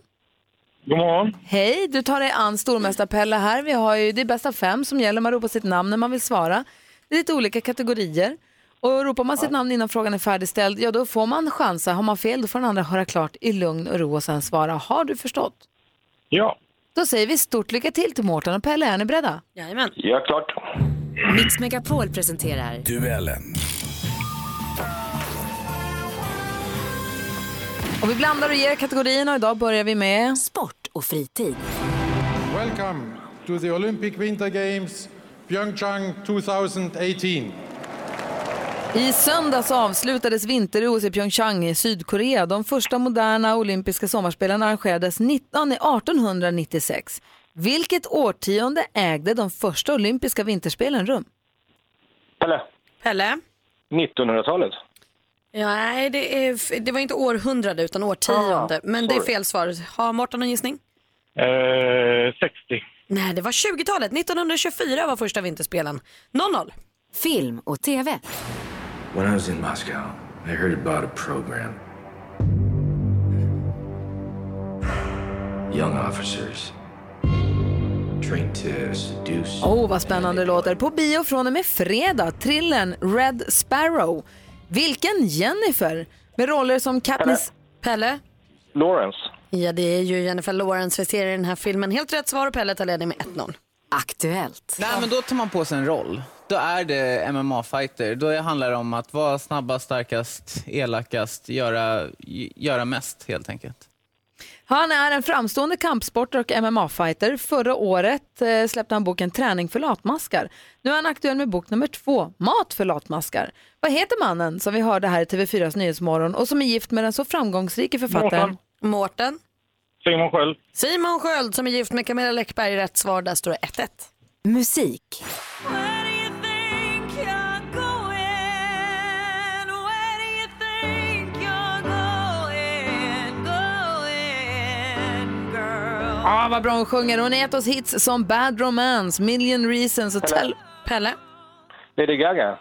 [SPEAKER 16] God morgon.
[SPEAKER 2] Hej, du tar dig an stormästarpelle här. Vi har ju, det är bäst av fem som gäller. Man ropar sitt namn när man vill svara. Det är lite olika kategorier. Och ropar man sitt namn innan frågan är färdigställd, ja då får man chansa. Har man fel, då får den andra höra klart i lugn och ro och sen svara. Har du förstått?
[SPEAKER 16] Ja.
[SPEAKER 2] Då säger vi stort lycka till till Mårten och Pelle. Är ni beredda?
[SPEAKER 1] Jajamän.
[SPEAKER 16] Ja, klart.
[SPEAKER 1] Mix Megapol presenterar
[SPEAKER 17] Duellen.
[SPEAKER 2] Och vi blandar och ger kategorierna och idag börjar vi med... Sport och fritid.
[SPEAKER 18] Welcome to the Olympic Winter Games Pyeongchang 2018.
[SPEAKER 2] I söndags avslutades vinter-OS i Pyeongchang i Sydkorea. De första moderna olympiska sommarspelen arrangerades 19, 1896. Vilket årtionde ägde de första olympiska vinterspelen rum?
[SPEAKER 16] Pelle,
[SPEAKER 4] Pelle?
[SPEAKER 16] 1900-talet.
[SPEAKER 4] Ja, nej, det, är, det var inte århundrade utan årtionde.
[SPEAKER 16] Ah,
[SPEAKER 4] men det är
[SPEAKER 16] sorry.
[SPEAKER 4] fel svar. Har Mårten någon gissning?
[SPEAKER 11] Eh, 60.
[SPEAKER 4] Nej, det var 20-talet. 1924 var första vinterspelen. 0-0. Film och TV.
[SPEAKER 13] When I was in Moscow, I heard about a program. Young officers trained to seduce.
[SPEAKER 2] Åh, oh, vad spännande det låter. På bio från och med fredag, thrillern Red Sparrow. Vilken Jennifer? Med roller som Katniss...
[SPEAKER 4] Pelle?
[SPEAKER 16] Lawrence.
[SPEAKER 4] Ja, det är ju Jennifer Lawrence vi ser i den här filmen. Helt rätt svar och Pelle tar ledning med 1-0.
[SPEAKER 19] Aktuellt. Nej, men då tar man på sig en roll. Då är det MMA-fighter. Då handlar det om att vara snabbast, starkast, elakast, göra, göra mest helt enkelt.
[SPEAKER 2] Han är en framstående kampsportare och MMA-fighter. Förra året eh, släppte han boken Träning för latmaskar. Nu är han aktuell med bok nummer två, Mat för latmaskar. Vad heter mannen som vi hörde här i TV4s Nyhetsmorgon och som är gift med den så framgångsrike författaren?
[SPEAKER 4] Mårten?
[SPEAKER 11] Simon Sköld.
[SPEAKER 4] Simon Sköld som är gift med Camilla Läckberg. Rätt svar, där står det 1-1. Musik.
[SPEAKER 2] Ja, vad bra hon sjunger. Hon har gett oss hits som Bad Romance, Million Reasons och Tell...
[SPEAKER 4] Pelle?
[SPEAKER 16] Lady Gaga.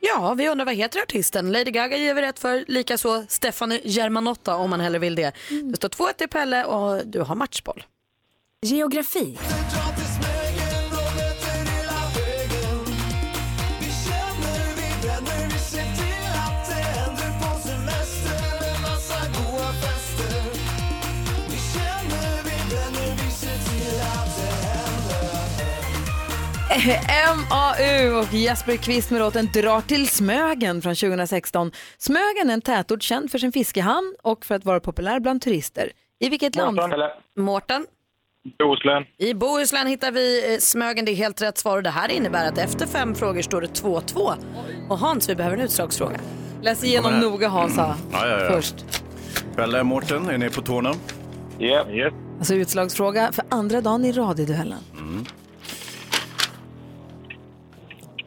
[SPEAKER 4] Ja, vi undrar vad heter artisten? Lady Gaga ger vi rätt för, likaså Stefano Germanotta om man hellre vill det. Det står 2-1 till Pelle och du har matchboll. Geografi.
[SPEAKER 2] MAU och Jesper Kvist med låten Drar till Smögen från 2016. Smögen är en tätort känd för sin fiskehamn och för att vara populär bland turister. I vilket land?
[SPEAKER 4] Mårten.
[SPEAKER 11] Bohuslän.
[SPEAKER 4] I Bohuslän hittar vi eh, Smögen, det är helt rätt svar och det här innebär att efter fem frågor står det 2-2. Och Hans, vi behöver en utslagsfråga.
[SPEAKER 2] Läs igenom
[SPEAKER 3] Kommer här. Mm.
[SPEAKER 2] noga Hansa.
[SPEAKER 3] Ja, ja, ja.
[SPEAKER 2] Först.
[SPEAKER 3] Pelle, Mårten, är ni på tårna?
[SPEAKER 16] Ja.
[SPEAKER 2] Alltså utslagsfråga för andra dagen i radioduellen.
[SPEAKER 3] Mm.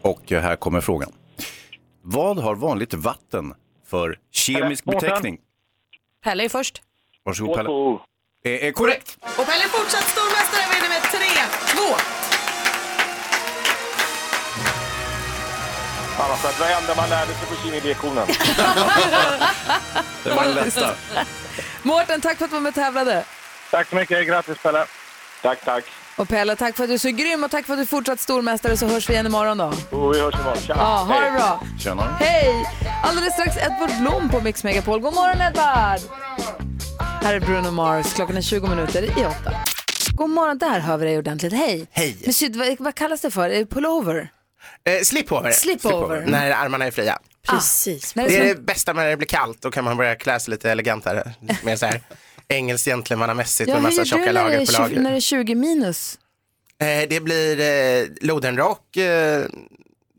[SPEAKER 3] Och eh, här kommer frågan. Vad har vanligt vatten för kemisk
[SPEAKER 4] Pelle, Mårten.
[SPEAKER 3] beteckning?
[SPEAKER 4] Pelle är först.
[SPEAKER 3] Varsågod Pelle. Eh, eh, korrekt!
[SPEAKER 4] Och Pelle är fortsatt stormästare vinner med 3-2.
[SPEAKER 16] Fan vad skönt. Vad hände man lärde sig på kemilektionen?
[SPEAKER 3] Det var den lätta.
[SPEAKER 2] Mårten, tack för att du var med och tävlade.
[SPEAKER 16] Tack så mycket. Grattis Pelle. Tack, tack.
[SPEAKER 2] Och Pelle, tack för att du är så grym och tack för att du är fortsatt stormästare så hörs vi igen imorgon då.
[SPEAKER 16] Och vi hörs imorgon. Tja.
[SPEAKER 2] Ja, ha det
[SPEAKER 16] Hej.
[SPEAKER 2] bra.
[SPEAKER 3] Tjena.
[SPEAKER 2] Hej! Alldeles strax Edvard Blom på Mix Megapol. God morgon Edvard! Här är Bruno Mars, klockan är 20 minuter i åtta. God morgon, där hör vi dig ordentligt. Hej!
[SPEAKER 20] Hej.
[SPEAKER 2] Men syd, vad, vad kallas det för? Är det Pullover?
[SPEAKER 20] Eh, slipover.
[SPEAKER 2] Slipover.
[SPEAKER 20] När armarna är fria.
[SPEAKER 2] Mm. Ah, Precis.
[SPEAKER 20] Det är det bästa när det blir kallt, då kan man börja klä sig lite elegantare. Mer så här engelskt gentlemannamässigt
[SPEAKER 2] Ja,
[SPEAKER 20] med
[SPEAKER 2] hur
[SPEAKER 20] massa
[SPEAKER 2] gör
[SPEAKER 20] tjocka
[SPEAKER 2] du när det,
[SPEAKER 20] lager
[SPEAKER 2] är
[SPEAKER 20] på
[SPEAKER 2] 20, när
[SPEAKER 20] lager.
[SPEAKER 2] det är 20 minus?
[SPEAKER 20] Eh, det blir eh, lodenrock, eh,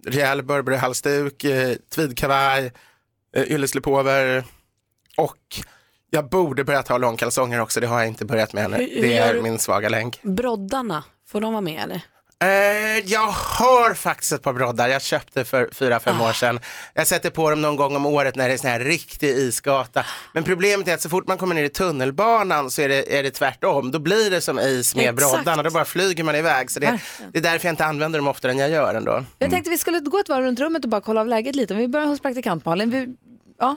[SPEAKER 20] rejäl Burberry-halsduk, eh, tweedkavaj, eh, ylleslepover och jag borde börja ta långkalsonger också, det har jag inte börjat med ännu.
[SPEAKER 4] Hur- hur
[SPEAKER 20] Det
[SPEAKER 4] gör
[SPEAKER 20] är
[SPEAKER 4] du?
[SPEAKER 20] min svaga länk.
[SPEAKER 4] Broddarna, får de vara med eller?
[SPEAKER 20] Eh, jag har faktiskt ett par broddar. Jag köpte för fyra fem
[SPEAKER 2] Ah.
[SPEAKER 20] år sedan. Jag sätter på dem någon gång om året när det är sån här riktig isgata. Men problemet är att så fort man kommer ner i tunnelbanan så är det, är det tvärtom. Då blir det som is med
[SPEAKER 2] Exakt.
[SPEAKER 20] broddarna. Då bara flyger man iväg. Så det, det är därför jag inte använder dem oftare än jag gör ändå. Mm.
[SPEAKER 2] Jag tänkte vi skulle gå ett varv runt rummet och bara kolla av läget lite. Vi börjar hos praktikant Malin. Vi, ja.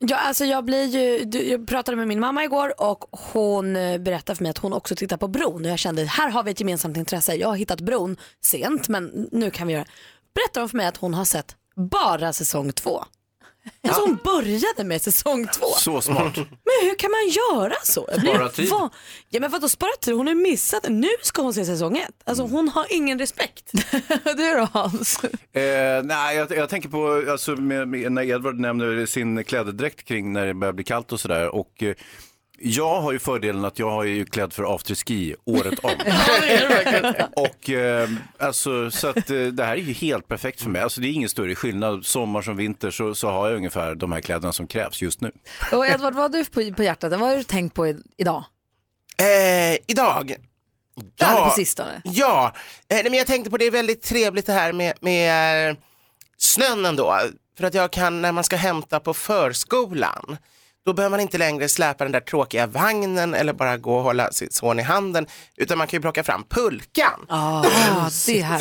[SPEAKER 4] Ja, alltså jag, blir ju, du- jag pratade med min mamma igår och hon eh, berättade för mig att hon också tittar på bron. Och jag kände här har vi ett gemensamt intresse. Jag har hittat bron sent men nu kan vi göra det. Berättade hon för mig att hon har sett bara säsong två. Alltså hon började med säsong två.
[SPEAKER 3] Så smart.
[SPEAKER 4] Men hur kan man göra så? Jag blir
[SPEAKER 3] Spara tid.
[SPEAKER 4] va- Ja men vadå spara tid? Hon har ju missat, nu ska hon se säsong ett. Alltså hon har ingen respekt.
[SPEAKER 2] du då Hans?
[SPEAKER 3] Eh, nej, jag, jag tänker på alltså, med, med, när Edvard nämner sin klädedräkt kring när det börjar bli kallt och sådär. Och, eh, jag har ju fördelen att jag är ju klädd för afterski året om. och eh, alltså, så att, eh, det här är ju helt perfekt för mig. Alltså, det är ingen större skillnad. Sommar som vinter så, så har jag ungefär de här kläderna som krävs just nu.
[SPEAKER 2] Och Edvard, vad har du på, på hjärtat? Vad har du tänkt på i, idag?
[SPEAKER 20] Eh, idag?
[SPEAKER 2] Där på sistone.
[SPEAKER 20] Ja, eh, nej, men jag tänkte på det är väldigt trevligt det här med, med eh, snön ändå. För att jag kan, när man ska hämta på förskolan, då behöver man inte längre släpa den där tråkiga vagnen eller bara gå och hålla sitt son i handen, utan man kan ju plocka fram pulkan.
[SPEAKER 2] Ah, det här.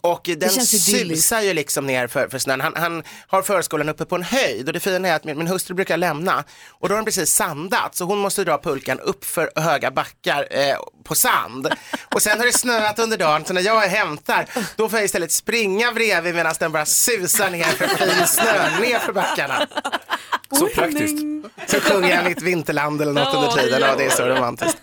[SPEAKER 20] Och den
[SPEAKER 2] känns idylliskt.
[SPEAKER 20] susar ju liksom ner för, för snön. Han, han har förskolan uppe på en höjd och det fina är att min, min hustru brukar lämna och då har den precis sandat så hon måste dra pulkan upp för höga backar eh, på sand. Och sen har det snöat under dagen så när jag hämtar då får jag istället springa bredvid medan den bara susar ner för fin snö ner för backarna.
[SPEAKER 3] Så praktiskt.
[SPEAKER 20] Så sjunger jag mitt vinterland eller något under tiden och det är så romantiskt.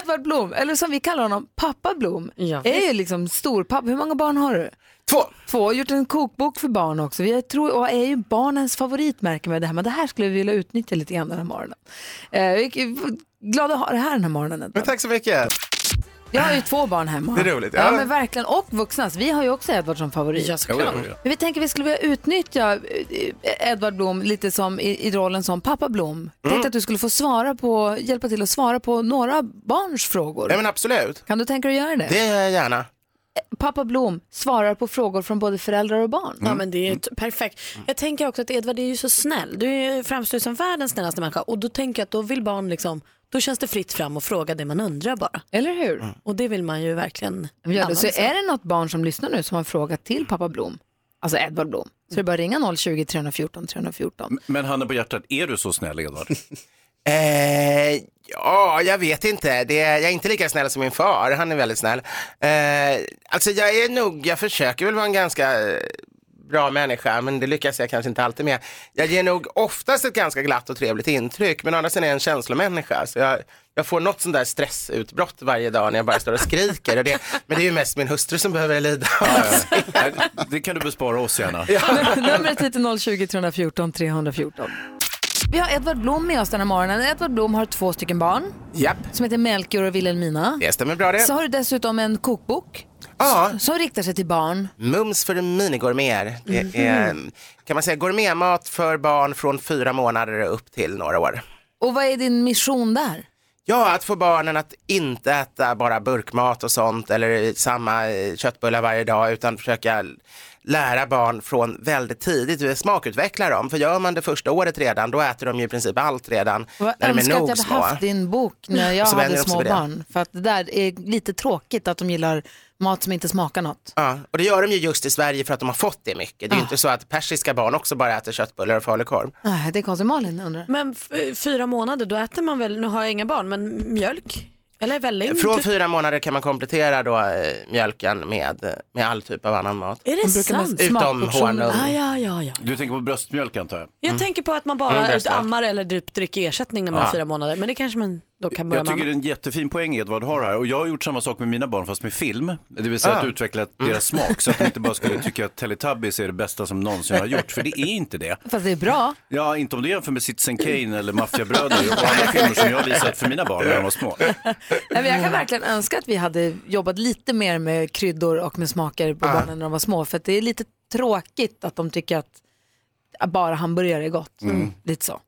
[SPEAKER 2] Edvard Blom, eller som vi kallar honom, pappa Blom,
[SPEAKER 20] Ja.
[SPEAKER 2] är ju liksom storpappa. Hur många barn har du?
[SPEAKER 20] Två.
[SPEAKER 2] Två, har gjort en kokbok för barn också. Vi är, tror, och är ju barnens favorit märker man det här. Men det här skulle vi vilja utnyttja lite grann den här morgonen. Eh, vi är glada att ha det här den här morgonen. Edvard.
[SPEAKER 20] Men tack så mycket.
[SPEAKER 2] Jag har ju två barn hemma.
[SPEAKER 20] Det är roligt,
[SPEAKER 2] Ja,
[SPEAKER 20] ja.
[SPEAKER 2] men verkligen. Och vuxna. Så Vi har ju också Edvard som favorit.
[SPEAKER 20] Ja, såklart. Jo, jo, jo.
[SPEAKER 2] Men vi tänker vi skulle vilja utnyttja eh, Edvard Blom lite som i, i rollen som pappa Blom.
[SPEAKER 20] Mm.
[SPEAKER 2] Tänkte att du skulle få svara på, hjälpa till att svara på några barns frågor.
[SPEAKER 20] Ja men absolut.
[SPEAKER 2] Kan du tänka dig att göra det? Eh,
[SPEAKER 20] Det gör jag gärna.
[SPEAKER 2] Pappa Blom svarar på frågor från både föräldrar och barn.
[SPEAKER 20] Mm.
[SPEAKER 4] Ja men det är ju t- perfekt. Jag tänker också att Edvard är ju så snäll. Du är ju- framstår ju som världens snällaste människa och då tänker jag att då vill barn liksom, då känns det fritt fram och fråga det man undrar bara.
[SPEAKER 2] Eller hur?
[SPEAKER 20] Mm.
[SPEAKER 4] Och det vill man ju verkligen.
[SPEAKER 2] Gör det. Så
[SPEAKER 4] använda sig av.
[SPEAKER 2] är det något barn som lyssnar nu som har en fråga till pappa Blom, alltså Edvard Blom, så är det bara att ringa 020 314 314.
[SPEAKER 3] Men handen på hjärtat, är du så snäll Edvard?
[SPEAKER 20] Eh, ja, jag vet inte. Det, jag är inte lika snäll som min far. Han är väldigt snäll. Eh, alltså jag är nog, jag försöker väl vara en ganska eh, bra människa, men det lyckas jag kanske inte alltid med. Jag ger nog oftast ett ganska glatt och trevligt intryck, men å andra sidan är jag en känslomänniska. Så jag, jag får något sånt där stressutbrott varje dag när jag bara står och skriker. Och det, men det är ju mest min hustru som behöver lida av
[SPEAKER 3] Det kan du bespara oss gärna.
[SPEAKER 2] Numret hit är 020 314 314. Vi har Edvard Blom med oss den här morgonen. Edvard Blom har två stycken barn
[SPEAKER 20] Japp.
[SPEAKER 2] som heter Melchior och Wilhelmina.
[SPEAKER 20] Det stämmer bra det.
[SPEAKER 2] Så har du dessutom en kokbok
[SPEAKER 20] Ja.
[SPEAKER 2] s- som riktar sig till barn.
[SPEAKER 20] Mums för minigourmeter. Det är,
[SPEAKER 2] Mhm.
[SPEAKER 20] kan man säga gourmetmat för barn från fyra månader och upp till några år.
[SPEAKER 2] Och vad är din mission där?
[SPEAKER 20] Ja, att få barnen att inte äta bara burkmat och sånt eller samma eh, köttbullar varje dag utan försöka lära barn från väldigt tidigt, smakutveckla dem. För gör man det första året redan, då äter de ju i princip allt redan
[SPEAKER 2] Jag
[SPEAKER 20] när de är
[SPEAKER 2] önskar att jag
[SPEAKER 20] nog
[SPEAKER 2] hade
[SPEAKER 20] små.
[SPEAKER 2] haft din bok när jag
[SPEAKER 20] Så
[SPEAKER 2] hade
[SPEAKER 20] vänjer de sig
[SPEAKER 2] små
[SPEAKER 20] vid det.
[SPEAKER 2] barn. För att det där är lite tråkigt att de gillar mat som inte smakar något.
[SPEAKER 20] Ja, och det gör de ju just i Sverige för att de har fått det mycket. Det
[SPEAKER 2] Ah.
[SPEAKER 20] är ju inte så att persiska barn också bara äter köttbullar och falukorv.
[SPEAKER 2] Nej, det är konstigt. Malin undrar.
[SPEAKER 4] Men f- fyra månader, då äter man väl, nu har jag inga barn, men mjölk? Eller välling?
[SPEAKER 20] Från
[SPEAKER 4] typ?
[SPEAKER 20] fyra månader kan man komplettera då eh, mjölken med, med all typ av annan mat.
[SPEAKER 4] Är det sant?
[SPEAKER 20] Utom
[SPEAKER 4] Smakportioner.
[SPEAKER 20] honung.
[SPEAKER 4] Ah, ja, ja, ja.
[SPEAKER 3] Du tänker på bröstmjölk antar jag?
[SPEAKER 4] Jag tänker på att man
[SPEAKER 20] Mm,
[SPEAKER 4] bara
[SPEAKER 20] det är sant.
[SPEAKER 4] ammar eller dryp- dricker ersättning när man
[SPEAKER 3] Ja.
[SPEAKER 4] är fyra månader, men det kanske man då kan börja
[SPEAKER 3] Jag
[SPEAKER 4] med
[SPEAKER 3] tycker det är en jättefin poäng Edvard har här och jag har gjort samma sak med mina barn fast med film. Det vill säga
[SPEAKER 4] Ah.
[SPEAKER 3] att utveckla deras smak så att de inte bara skulle tycka att Teletubbies är det bästa som någonsin har gjorts, för det är inte det.
[SPEAKER 2] Fast det är bra.
[SPEAKER 3] Ja, inte om du jämför med Citizen Kane eller Maffiabröder och andra filmer som jag har visat för mina barn när de var små.
[SPEAKER 2] Nej, men jag kan verkligen önska att vi hade jobbat lite mer med kryddor och med smaker på
[SPEAKER 20] Ah.
[SPEAKER 3] Ja.
[SPEAKER 2] barnen när de var små. För att det är lite tråkigt att de tycker att bara hamburgare är gott.
[SPEAKER 20] Mm.
[SPEAKER 2] Lite så.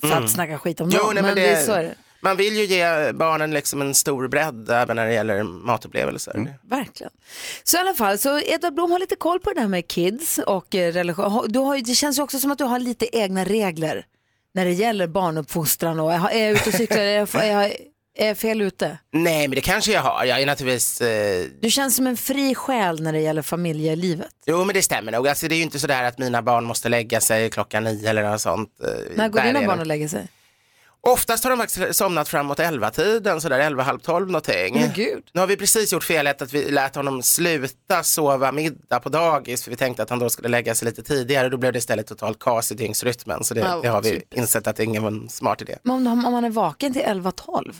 [SPEAKER 2] För att
[SPEAKER 20] Mm.
[SPEAKER 2] snacka skit om
[SPEAKER 20] Jo,
[SPEAKER 2] dem.
[SPEAKER 20] nej, men
[SPEAKER 2] det är
[SPEAKER 20] det-
[SPEAKER 2] så är det.
[SPEAKER 20] Man vill ju ge barnen liksom en stor bredd även när det gäller matupplevelser.
[SPEAKER 3] Mm.
[SPEAKER 2] Verkligen. Så i alla fall, så Edvard Blom har lite koll på det här med kids och eh, religion. Har- Du har, ju- det känns ju också som att du har lite egna regler när det gäller barnuppfostran och eh, är jag ute och cyklar, är jag, är jag, är jag fel ute?
[SPEAKER 20] Nej, men det kanske jag har. Jag är naturligtvis... Eh...
[SPEAKER 2] Du känns som en fri själ när det gäller familjelivet.
[SPEAKER 20] Jo, men det stämmer nog. Alltså, det är ju inte sådär att mina barn måste lägga sig klockan nio eller något sånt. eh,
[SPEAKER 2] När går
[SPEAKER 20] där
[SPEAKER 2] dina
[SPEAKER 20] är
[SPEAKER 2] barn
[SPEAKER 20] de.
[SPEAKER 2] och lägger sig?
[SPEAKER 20] Oftast har de faktiskt somnat framåt elva-tiden, sådär elva, halv tolv någonting.
[SPEAKER 2] Men gud.
[SPEAKER 20] Nu har vi precis gjort felet att vi lät honom sluta sova middag på dagis för vi tänkte att han då skulle lägga sig lite tidigare. Då blev det istället totalt kaos i dygnsrytmen. Så det,
[SPEAKER 2] Ja,
[SPEAKER 20] det har vi
[SPEAKER 2] typiskt.
[SPEAKER 20] insett att det ingen var en smart idé.
[SPEAKER 2] Men om, de- om man är vaken till 11-12,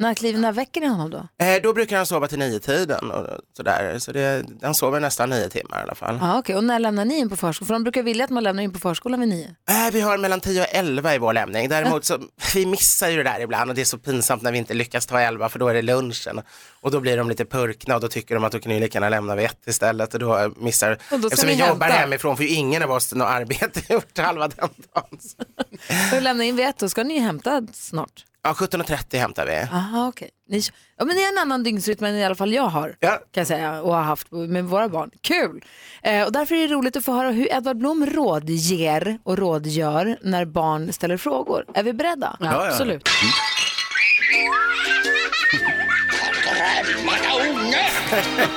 [SPEAKER 2] när, kliver- när väcker ni honom då?
[SPEAKER 20] Eh, då brukar han sova till nio-tiden och sådär. Så det, han sover nästan nio timmar i alla fall.
[SPEAKER 2] Ja, okej. Och när lämnar ni in på förskolan? För de brukar vilja att man lämnar in på förskolan vid nio.
[SPEAKER 20] Eh, vi har mellan 10 och 11 i vår lämning. Däremot så vi missar ju det där ibland och det är så pinsamt när vi inte lyckas ta 11 för då är det lunchen. Och då blir de lite purkna och då tycker de att då kan ni lika gärna lämna vid ett istället. Och då äh, missar,
[SPEAKER 2] ska
[SPEAKER 20] eftersom vi
[SPEAKER 2] ni
[SPEAKER 20] jobbar
[SPEAKER 2] hämta.
[SPEAKER 20] hemifrån får ju ingen av oss något arbete gjort halva den dagen.
[SPEAKER 2] Och lämnar in vid ett, då ska ni ju hämta snart.
[SPEAKER 20] Ja, 17.30 hämtar vi.
[SPEAKER 2] Aha, okej. Ni, ja, men det är en annan dygnsrytm än i alla fall jag har. Kan jag säga, och har haft med våra barn. Kul! Eh, och därför är det roligt att få höra hur Edvard Blom rådger och rådgör när barn ställer frågor. Är vi beredda?
[SPEAKER 17] Ja, ja. Absolut.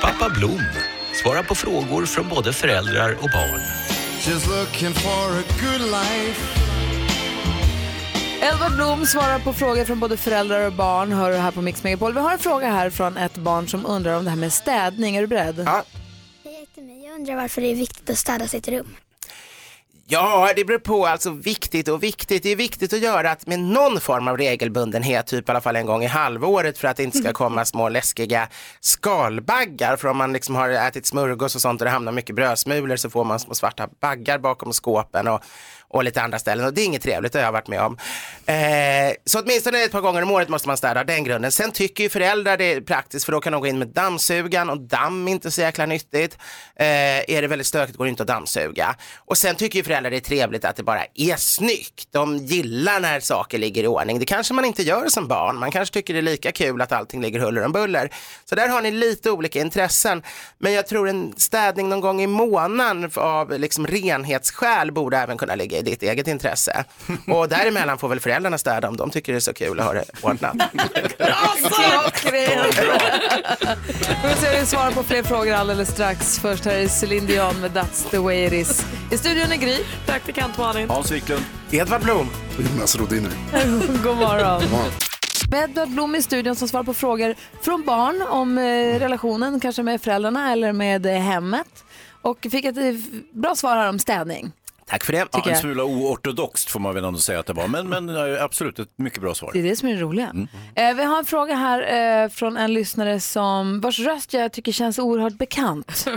[SPEAKER 17] Pappa Blom svarar på frågor från både föräldrar och barn.
[SPEAKER 21] Just looking for a good life.
[SPEAKER 2] Edvard Blom svarar på frågor från både föräldrar och barn. Hör du här på Mix Megapol. Vi har en fråga här från ett barn som undrar om det här med städning. Är du beredd?
[SPEAKER 20] Ja.
[SPEAKER 22] Jag undrar varför det är viktigt att städa sitt rum.
[SPEAKER 20] Ja, det beror på. Alltså viktigt och viktigt. Det är viktigt att göra att med någon form av regelbundenhet, typ i alla fall en gång i halvåret för att det inte ska komma små läskiga skalbaggar. För om man liksom har ätit smörgås och sånt och det hamnar mycket brödsmulor så får man små svarta baggar bakom skåpen och, och lite andra ställen. Och det är inget trevligt, det har jag varit med om. Eh, så åtminstone ett par gånger om året måste man städa den grunden. Sen tycker ju föräldrar det är praktiskt för då kan de gå in med dammsugan och damm är inte så jäkla nyttigt. Eh, är det väldigt stökigt går det inte att dammsuga. Och sen tycker ju föräldrar det är trevligt att det bara är snyggt. De gillar när saker ligger i ordning. Det kanske man inte gör som barn. Man kanske tycker det är lika kul att allting ligger huller om buller. Så där har ni lite olika intressen. Men jag tror en städning någon gång i månaden av liksom renhetsskäl borde även kunna ligga i ditt eget intresse. Och däremellan får väl föräldrarna städa om de tycker det är så kul att ha det ordnat.
[SPEAKER 2] Klockrent! Vi får se hur vi svarar på fler frågor alldeles strax. Först här är Celine Dion med That's the way it is. I studion är Gry. Praktikant Malin.
[SPEAKER 3] Hans Wiklund.
[SPEAKER 20] Edvard Blom.
[SPEAKER 12] Jonas Rodiner.
[SPEAKER 2] God morgon. Med Edward Blom i studion som svarar på frågor från barn om eh, relationen kanske med föräldrarna eller med eh, hemmet. Och fick ett eh, bra svar här om städning.
[SPEAKER 20] Tack för det.
[SPEAKER 3] Ja,
[SPEAKER 2] Tycker
[SPEAKER 3] en
[SPEAKER 2] jag.
[SPEAKER 3] smula oortodoxt får man väl ändå säga att det var, men, men eh, absolut ett mycket bra svar.
[SPEAKER 2] Det är det som är det roliga.
[SPEAKER 3] Mm.
[SPEAKER 2] Eh, vi har en fråga här eh, från en lyssnare som, vars röst jag tycker känns oerhört bekant.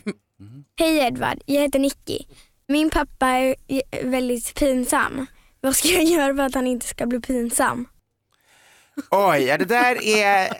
[SPEAKER 22] Hej Edvard, jag heter Nicky. Min pappa är är väldigt pinsam. Vad ska jag göra för att han inte ska bli pinsam?
[SPEAKER 20] Oj, ja, det där är,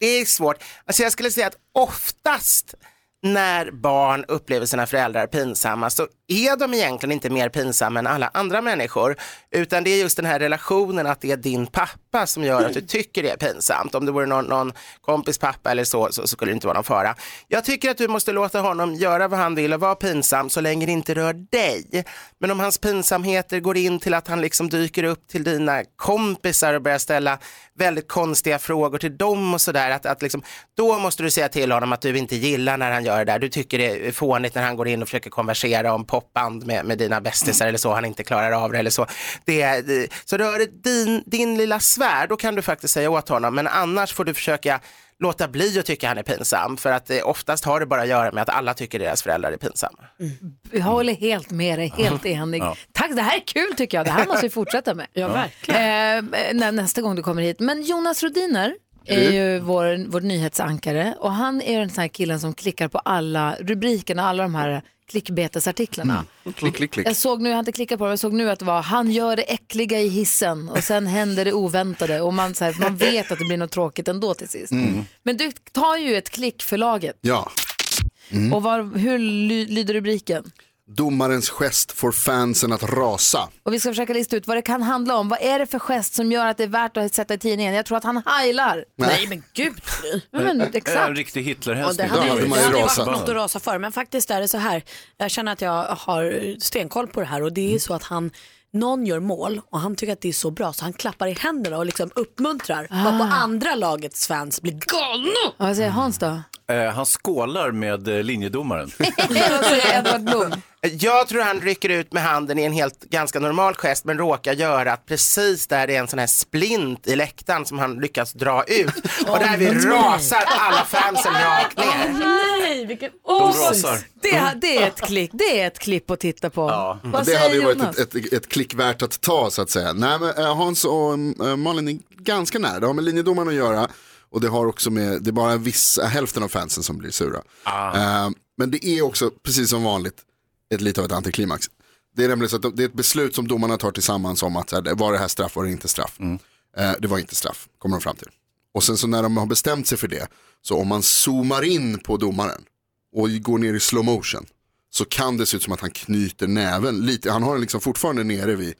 [SPEAKER 20] det är svårt. Alltså jag skulle säga att oftast när barn upplever sina föräldrar pinsamma så är de egentligen inte mer pinsamma än alla andra människor. Utan det är just den här relationen att det är din pappa som gör att du tycker det är pinsamt. Om det vore någon, någon kompis pappa eller så, så, så skulle det inte vara någon fara. Jag tycker att du måste låta honom göra vad han vill och vara pinsam så länge det inte rör dig. Men om hans pinsamheter går in till att han liksom dyker upp till dina kompisar och börjar ställa väldigt konstiga frågor till dem och sådär. Att, att liksom, då måste du säga till honom att du inte gillar när han gör det där. Du tycker det är fånigt när han går in och försöker konversera om popband med, med dina bästisar eller så. Han inte klarar av det eller så. Det, är- det, så rör det din, din lilla sfär, då kan du faktiskt säga åt honom. Men annars får du försöka låta bli att tycka han är pinsam. För att eh, oftast har det bara att göra med att alla tycker deras föräldrar är pinsamma.
[SPEAKER 2] Vi håller helt med dig, helt enig.
[SPEAKER 20] Ja.
[SPEAKER 2] Tack, det här är kul tycker jag. Det här måste vi fortsätta med.
[SPEAKER 20] Ja,
[SPEAKER 2] verkligen. Eh, när, nästa gång du kommer hit. Men Jonas Rodiner är ju vår, vår nyhetsankare och han är den här killen som klickar på alla rubrikerna, alla de här klickbetesartiklarna.
[SPEAKER 23] Mm. Klick, klick, klick.
[SPEAKER 2] Jag såg nu, jag har inte klickat på det, men jag såg nu att det var han gör det äckliga i hissen och sen händer det oväntade och man, så här, man vet att det blir något tråkigt ändå till sist.
[SPEAKER 23] Mm.
[SPEAKER 2] Men du tar ju ett klick för laget
[SPEAKER 23] Ja. Mm.
[SPEAKER 2] och var, hur ly, lyder rubriken?
[SPEAKER 23] Domarens gest får fansen att rasa.
[SPEAKER 2] Och vi ska försöka lista ut vad det kan handla om. Vad är det för gest som gör att det är värt att sätta i tidningen? Jag tror att han heilar.
[SPEAKER 23] Nej.
[SPEAKER 2] men gud. Ja, men
[SPEAKER 3] Eh, En
[SPEAKER 2] exakt.
[SPEAKER 3] riktig
[SPEAKER 4] Ja, det
[SPEAKER 3] Hitlerhälsning.
[SPEAKER 4] hade, ju, det hade ju varit något att rasa för. Men faktiskt är det så här, jag känner att jag har stenkoll på det här och det är ju så att han, någon gör mål och han tycker att det är så bra så han klappar i händerna och liksom uppmuntrar. Ah. På andra lagets fans blir galna.
[SPEAKER 2] Vad säger Hans då?
[SPEAKER 3] Eh, han skålar med eh, linjedomaren.
[SPEAKER 20] Jag tror han rycker ut med handen i en helt ganska normal gest men råkar göra att precis där det är en sån här splint i läktaren som han lyckas dra ut och där vi
[SPEAKER 2] nej.
[SPEAKER 20] rasar alla fansen rakt ner.
[SPEAKER 4] nej, vilken
[SPEAKER 20] rasar.
[SPEAKER 2] det, det, är ett klick, det är ett klipp att titta på.
[SPEAKER 23] Ja,
[SPEAKER 2] Vad
[SPEAKER 23] det hade
[SPEAKER 2] säger
[SPEAKER 23] ju varit
[SPEAKER 2] Jonas?
[SPEAKER 23] ett, ett, ett klick värt att ta så att säga. Nej, men, eh, Hans och eh, Malin är ganska nära. Det har med linjedomaren att göra och det har också med, det är bara vissa, hälften av fansen som blir sura. Eh, men det är också, precis som vanligt, ett, lite av ett antiklimax. Det är nämligen så att de- det är ett beslut som domarna tar tillsammans om att så här, var det här straff, var det inte straff. Eh, det var inte straff, kommer de fram till. Och sen så när de har bestämt sig för det, så om man zoomar in på domaren och går ner i slow motion så kan det se ut som att han knyter näven lite. Han har den liksom fortfarande nere vid,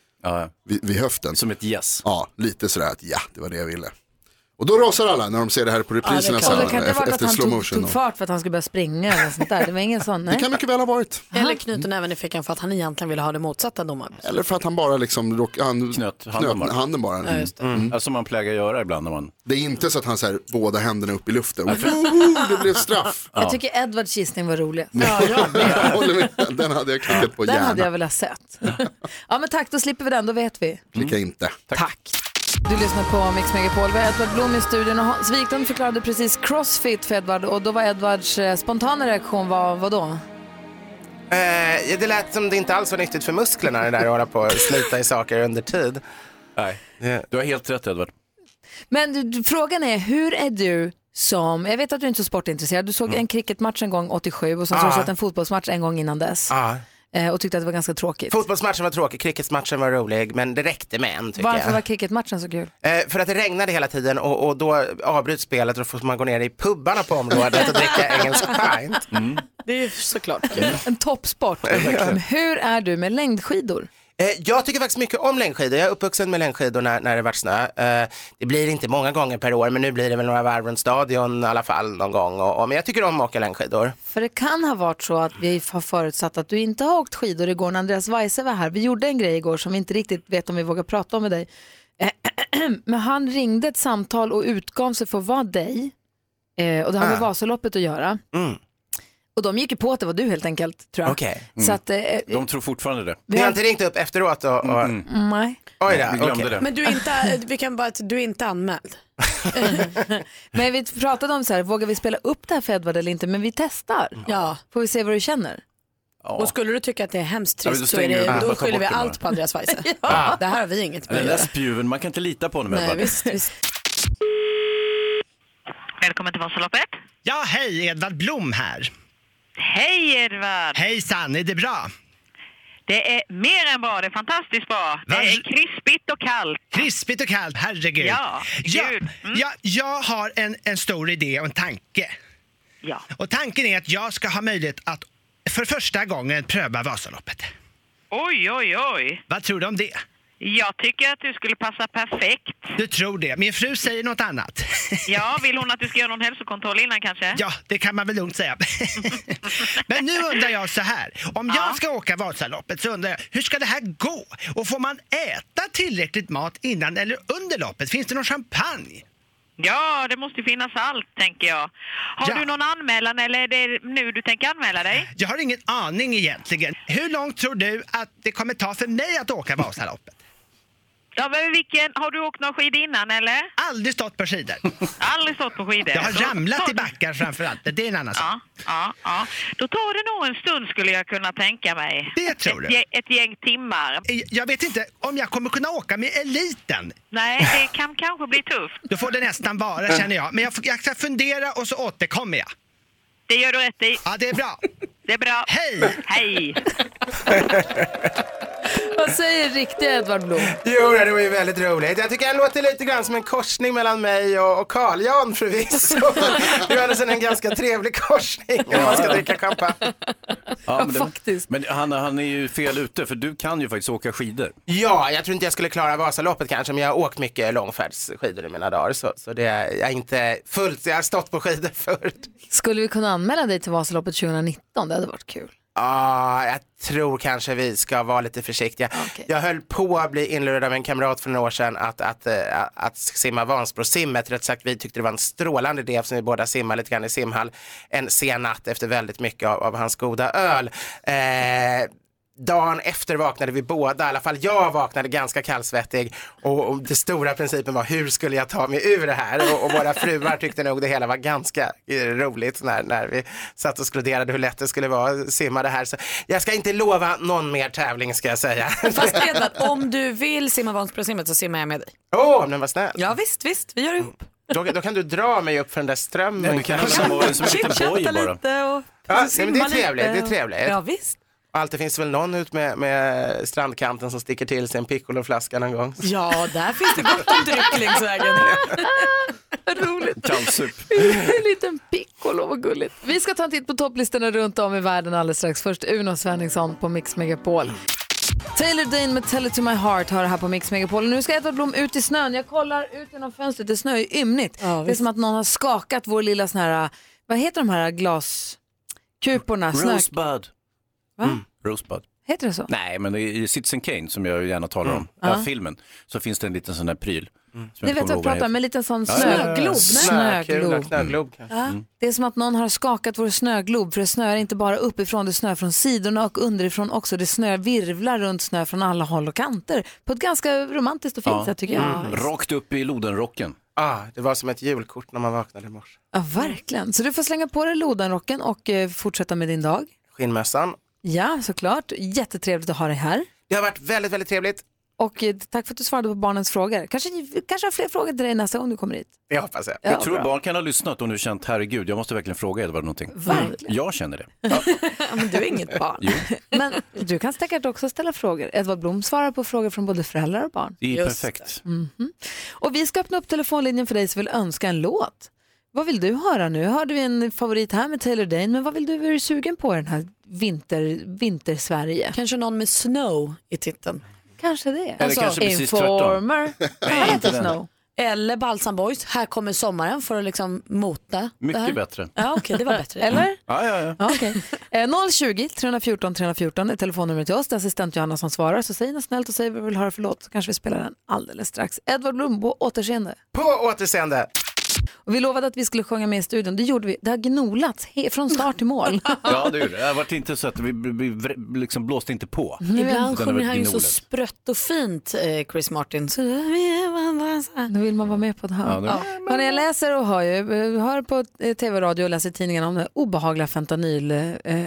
[SPEAKER 23] vid, vid höften. Som
[SPEAKER 3] ett yes.
[SPEAKER 23] Ja, lite sådär att ja, det var det jag ville. Och då rasar alla när de ser det här på
[SPEAKER 2] Ja, det
[SPEAKER 23] repriserna
[SPEAKER 2] kan- Och det
[SPEAKER 23] sen,
[SPEAKER 2] kan inte ha
[SPEAKER 23] efter,
[SPEAKER 2] varit att
[SPEAKER 23] efter
[SPEAKER 2] han
[SPEAKER 23] slow
[SPEAKER 2] tog,
[SPEAKER 23] motion.
[SPEAKER 2] tog
[SPEAKER 23] Och,
[SPEAKER 2] fart för att han skulle börja springa eller sånt där. Det var ingen sån. Nej.
[SPEAKER 23] det kan mycket väl ha varit.
[SPEAKER 4] Eller knyter näven i fickan för att han egentligen ville ha det motsatta domaren.
[SPEAKER 23] Eller för att han bara liksom rock, han, knöt
[SPEAKER 3] handen bara.
[SPEAKER 23] handen bara.
[SPEAKER 4] Ja, just
[SPEAKER 3] Mm. Som man plägar göra ibland när man...
[SPEAKER 23] Det är inte så att han så här, båda händerna upp i luften.
[SPEAKER 3] Ja, för-
[SPEAKER 23] Woho, det blev straff.
[SPEAKER 2] Jag tycker Edwards gissning var rolig.
[SPEAKER 23] jag håller med. Den hade jag klickat Mm, på
[SPEAKER 2] Den hade jag
[SPEAKER 23] gärna.
[SPEAKER 2] velat sett. Ja men tack, då slipper vi den, då vet vi.
[SPEAKER 23] Klicka inte.
[SPEAKER 2] Tack. Du lyssnar på Mix Megapol. Vi har Edvard Blom i studion och Hans Wiklund förklarade precis crossfit för Edvard och då var Edvards eh, spontana reaktion var vadå?
[SPEAKER 20] Eh, det lät som det inte alls var nyttigt för musklerna det där att hålla på och slita i saker under tid.
[SPEAKER 3] Nej, du har helt rätt Edvard.
[SPEAKER 2] Men du- du, frågan är, hur är du som, jag vet att du inte är så sportintresserad, du såg en cricketmatch en gång 87 och sen så har du
[SPEAKER 20] Mm. Ah.
[SPEAKER 2] sett en fotbollsmatch en gång innan dess
[SPEAKER 20] Ja.
[SPEAKER 2] eh, och tyckte att det var ganska tråkigt.
[SPEAKER 20] Fotbollsmatchen var tråkig, cricketmatchen var rolig, men det räckte med en tycker
[SPEAKER 2] Varför
[SPEAKER 20] jag.
[SPEAKER 2] var cricketmatchen så kul?
[SPEAKER 20] Eh, för att det regnade hela tiden och, och då avbryts spelet och då får man gå ner i pubbarna på området och dricka engelsk pint.
[SPEAKER 4] Det är ju såklart
[SPEAKER 2] En toppsport. Men hur är du med längdskidor?
[SPEAKER 20] Eh, Jag tycker faktiskt mycket om längdskidor. Jag är uppvuxen med längdskidor när, när det var snö. Eh, Det blir inte många gånger per år, men nu blir det väl några varv runt stadion i alla fall någon gång. Och, och, men jag tycker om att åka längdskidor.
[SPEAKER 2] För det kan ha varit så att vi har förutsatt att du inte har åkt skidor igår när Andreas Weise var här. Vi gjorde en grej igår som vi inte riktigt vet om vi vågar prata om med dig. Eh, Men han ringde ett samtal och utgav sig för att vara dig. Eh, och det har med
[SPEAKER 1] Ah.
[SPEAKER 2] Vasaloppet att göra.
[SPEAKER 20] Mm,
[SPEAKER 2] Och de gick ju på att det var du helt enkelt tror jag.
[SPEAKER 4] Mm.
[SPEAKER 2] Så att, eh,
[SPEAKER 3] Mm. De tror fortfarande det.
[SPEAKER 20] Ni har inte ringt upp efteråt? Och, och...
[SPEAKER 2] nej.
[SPEAKER 20] Oj
[SPEAKER 3] Vi glömde
[SPEAKER 20] då, okej.
[SPEAKER 3] det.
[SPEAKER 4] Men du är inte, vi kan bara, du är inte anmäld.
[SPEAKER 2] Men vi pratade om så här, vågar vi spela upp det här för Edvard eller inte? Men vi testar.
[SPEAKER 4] Ja.
[SPEAKER 2] Får vi se vad du känner?
[SPEAKER 4] Och skulle du tycka att det är hemskt
[SPEAKER 3] Ja, men
[SPEAKER 4] trist
[SPEAKER 3] då
[SPEAKER 4] så är
[SPEAKER 3] stänger vi
[SPEAKER 4] det,
[SPEAKER 3] den
[SPEAKER 4] då
[SPEAKER 3] och tar
[SPEAKER 4] skyller
[SPEAKER 3] bort
[SPEAKER 4] vi
[SPEAKER 3] den
[SPEAKER 4] allt
[SPEAKER 3] bara.
[SPEAKER 4] på Andreas Weise.
[SPEAKER 3] Ja.
[SPEAKER 4] Det här har vi inget med
[SPEAKER 3] Den
[SPEAKER 4] att
[SPEAKER 3] där
[SPEAKER 4] göra.
[SPEAKER 3] spjuven, man kan inte lita på honom
[SPEAKER 4] Nej,
[SPEAKER 3] Edvard.
[SPEAKER 4] visst, visst.
[SPEAKER 24] Välkommen till Vasaloppet. Ja, hej! Edvard Blom här. Hej Edvard! Hejsan, är det bra?
[SPEAKER 6] Det är mer än bra, det är fantastiskt bra.
[SPEAKER 24] Va?
[SPEAKER 6] Det är krispigt och kallt.
[SPEAKER 24] Krispigt och kallt, herregud.
[SPEAKER 6] Ja, Mm.
[SPEAKER 24] ja, ja, jag har en, en stor idé och en tanke.
[SPEAKER 6] Ja.
[SPEAKER 24] Och tanken är att jag ska ha möjlighet att för första gången pröva Vasaloppet.
[SPEAKER 6] Oj, oj, oj.
[SPEAKER 24] Vad tror du om det?
[SPEAKER 6] Jag tycker att du skulle passa perfekt.
[SPEAKER 24] Du tror det. Min fru säger något annat.
[SPEAKER 6] Ja, vill hon att du ska göra någon hälsokontroll innan kanske?
[SPEAKER 24] Ja, det kan man väl lugnt säga. Men nu undrar jag så här. Om jag ska åka Vasaloppet så undrar jag, hur ska det här gå? Och får man äta tillräckligt mat innan eller under loppet? Finns det någon champagne?
[SPEAKER 6] Ja, det måste ju finnas allt, tänker jag. Har
[SPEAKER 24] Ja.
[SPEAKER 6] du någon anmälan eller är det nu du tänker anmäla dig?
[SPEAKER 24] Jag har ingen aning egentligen. Hur långt tror du att det kommer ta för mig att åka Vasaloppet?
[SPEAKER 6] Ja, men vilken, har du åkt någon skid innan eller?
[SPEAKER 24] Aldrig stått på skidor.
[SPEAKER 6] Aldrig stått på skidor.
[SPEAKER 24] Jag har
[SPEAKER 6] Så-
[SPEAKER 24] ramlat
[SPEAKER 6] så-
[SPEAKER 24] i backar framförallt, men det är en annan sak.
[SPEAKER 6] Ja, ja. Då tar det nog en stund skulle jag kunna tänka mig.
[SPEAKER 24] Det tror
[SPEAKER 6] ett,
[SPEAKER 24] du. Eh,
[SPEAKER 6] gäng- ett gäng timmar.
[SPEAKER 24] Jag vet inte om jag kommer kunna åka med eliten.
[SPEAKER 6] Nej, det kan kanske bli tufft.
[SPEAKER 24] Då får det nästan vara känner jag. Men jag, får- jag ska fundera och så återkommer jag.
[SPEAKER 6] Det gör du rätt i.
[SPEAKER 24] Ja, det är bra.
[SPEAKER 6] Det är bra.
[SPEAKER 24] Hej!
[SPEAKER 6] Hej!
[SPEAKER 2] Vad säger riktiga Edvard Blom?
[SPEAKER 20] Jo, det var ju väldigt roligt. Jag tycker han låter lite grann som en korsning mellan mig och och Carl-Jan förvisso. Det var alltså en ganska trevlig korsning om man ska dricka champagne.
[SPEAKER 3] Ja, men faktiskt. Men han, han är ju fel ute, för du kan ju faktiskt åka skidor.
[SPEAKER 20] Ja, jag tror inte jag skulle klara Vasaloppet kanske, men jag har åkt mycket långfärdsskidor i mina dagar. Så, så det är, jag är inte fullt, jag har stått på skidor förut.
[SPEAKER 2] Skulle vi kunna anmäla dig till Vasaloppet 2019? Det hade varit kul.
[SPEAKER 20] Ja, jag tror kanske vi ska vara lite försiktiga. Jag höll på att bli inlurad av en kamrat för några år sedan att, att, eh, att simma Vansbrosimmet. Rätt sagt, vi tyckte det var en strålande idé eftersom vi båda simmar lite grann i simhall en sen natt efter väldigt mycket av, av hans goda öl. Eh, Dagen efter vaknade vi båda, i alla fall jag vaknade ganska kallsvettig och, och den stora principen var hur skulle jag ta mig ur det här? Och, och våra fruar tyckte nog det hela var ganska eh, roligt när, när vi satt och skroderade hur lätt det skulle vara att simma det här. Så jag ska inte lova någon mer tävling ska jag säga.
[SPEAKER 4] Fast Edvard, om du vill simma Vansbrosimmet så simmar jag med dig.
[SPEAKER 20] Åh, oh, men vad snällt.
[SPEAKER 4] Ja visst, visst, vi gör det ihop.
[SPEAKER 20] Då, då kan du dra mig upp för den där strömmen.
[SPEAKER 3] Nej, du kan
[SPEAKER 20] kanske.
[SPEAKER 3] väl vara som en liten Chitchatta boj bara.
[SPEAKER 4] lite och
[SPEAKER 20] Ja,
[SPEAKER 4] simma
[SPEAKER 20] nej, men det är
[SPEAKER 4] Alltså, lite
[SPEAKER 20] trevligt, det är
[SPEAKER 4] och-
[SPEAKER 20] trevligt.
[SPEAKER 4] Ja visst.
[SPEAKER 20] Och alltid finns det väl någon ut med, med strandkanten som sticker till sig en piccoloflaska någon gång.
[SPEAKER 4] Ja, där finns det gott om dryck längs vägen.
[SPEAKER 3] Kallsup.
[SPEAKER 2] En liten piccolo, vad gulligt. Vi ska ta en titt på topplistorna runt om i världen alldeles strax. Först Uno Svenningsson på Mix Megapol. Taylor Dane med Tell it to my heart har det här på Mix Megapol. Nu ska Edward Blom ut i snön. Jag kollar ut genom fönstret, det snöar ju ymnigt. det är som att någon har skakat vår lilla sån här, vad heter de här glaskuporna? Snö...
[SPEAKER 3] Rosebud.
[SPEAKER 2] Va?
[SPEAKER 3] Mm, Rosebud.
[SPEAKER 2] Heter det så?
[SPEAKER 3] Nej, men i Citizen Kane, som jag gärna talar om,
[SPEAKER 2] Mm. Ja.
[SPEAKER 3] ja. filmen, så finns det en liten sån där pryl. Mm.
[SPEAKER 2] Det vet jag pratar om, en liten sån
[SPEAKER 3] Ja, ja, ja, ja.
[SPEAKER 2] snöglob.
[SPEAKER 20] Snökula, knöglob kanske.
[SPEAKER 2] Ja. Det är som att någon har skakat vår snöglob för det snöar inte bara uppifrån, det snöar från sidorna och underifrån också. Det snöar virvlar runt snö från alla håll och kanter på ett ganska romantiskt och fint sätt tycker jag.
[SPEAKER 3] Mm. Rakt upp i lodenrocken.
[SPEAKER 20] Ah, det var som ett julkort när man vaknade i morse.
[SPEAKER 2] Ja, verkligen. Så du får slänga på dig lodanrocken och eh, fortsätta med din dag.
[SPEAKER 20] Skinnmössan.
[SPEAKER 2] Ja, såklart. Jättetrevligt att ha dig här.
[SPEAKER 20] Det har varit väldigt, väldigt trevligt.
[SPEAKER 2] Och eh, tack för att du svarade på barnens frågor. Kanske, kanske har fler frågor till dig nästa gång du kommer hit.
[SPEAKER 20] Det hoppas jag.
[SPEAKER 3] jag tror barn kan ha lyssnat och nu känt, herregud, jag måste verkligen fråga Edvard någonting.
[SPEAKER 2] Verkligen.
[SPEAKER 3] Jag känner det.
[SPEAKER 2] Men du är inget barn. Men du kan säkert också ställa frågor. Edvard Blom svarar på frågor från både föräldrar och barn.
[SPEAKER 3] Det är perfekt.
[SPEAKER 2] Mhm. Och vi ska öppna upp telefonlinjen för dig som vill önska en låt. Vad vill du höra nu? Hörde vi en favorit här med Taylor Dane, men vad vill du, vad är du sugen på i den här vinter, vintersverige?
[SPEAKER 4] Kanske någon med Snow i titeln.
[SPEAKER 2] Kanske det. Eller
[SPEAKER 4] Alltså,
[SPEAKER 2] kanske precis Informer. tvärtom. Nej, Vad heter inte den. Snow?
[SPEAKER 4] Eller Balsam Boys, här kommer sommaren för att liksom mota.
[SPEAKER 3] Mycket
[SPEAKER 4] det här.
[SPEAKER 3] bättre.
[SPEAKER 4] Ja okej, det var bättre.
[SPEAKER 2] Eller?
[SPEAKER 3] Ja, ja, ja.
[SPEAKER 2] Ja, okej. eh, 020 314 314 är telefonnumret till oss. Det är assistent Johanna som svarar. Så säg något snällt och säg vad du vill höra för låt så kanske vi spelar den alldeles strax. Edvard Blom, på återseende.
[SPEAKER 20] På återseende.
[SPEAKER 2] Och vi lovade att vi skulle sjunga med i studion. Det gjorde vi. Det har gnolats he- från start till mål.
[SPEAKER 3] Ja, det är det. Det har varit inte så att vi, vi, vi liksom blåste inte på.
[SPEAKER 4] Ibland
[SPEAKER 3] Utan det har
[SPEAKER 4] sjunger
[SPEAKER 3] varit
[SPEAKER 4] han ju så
[SPEAKER 3] gnolet.
[SPEAKER 4] sprött och fint, eh, Chris Martin. Så,
[SPEAKER 2] Då vill man vara med på det här.
[SPEAKER 4] Ja, det-
[SPEAKER 2] Ja. Men jag läser och hör, ju, eh, hör på eh, tv och radio och läser i tidningarna om den här obehagliga fentanyl... Eh,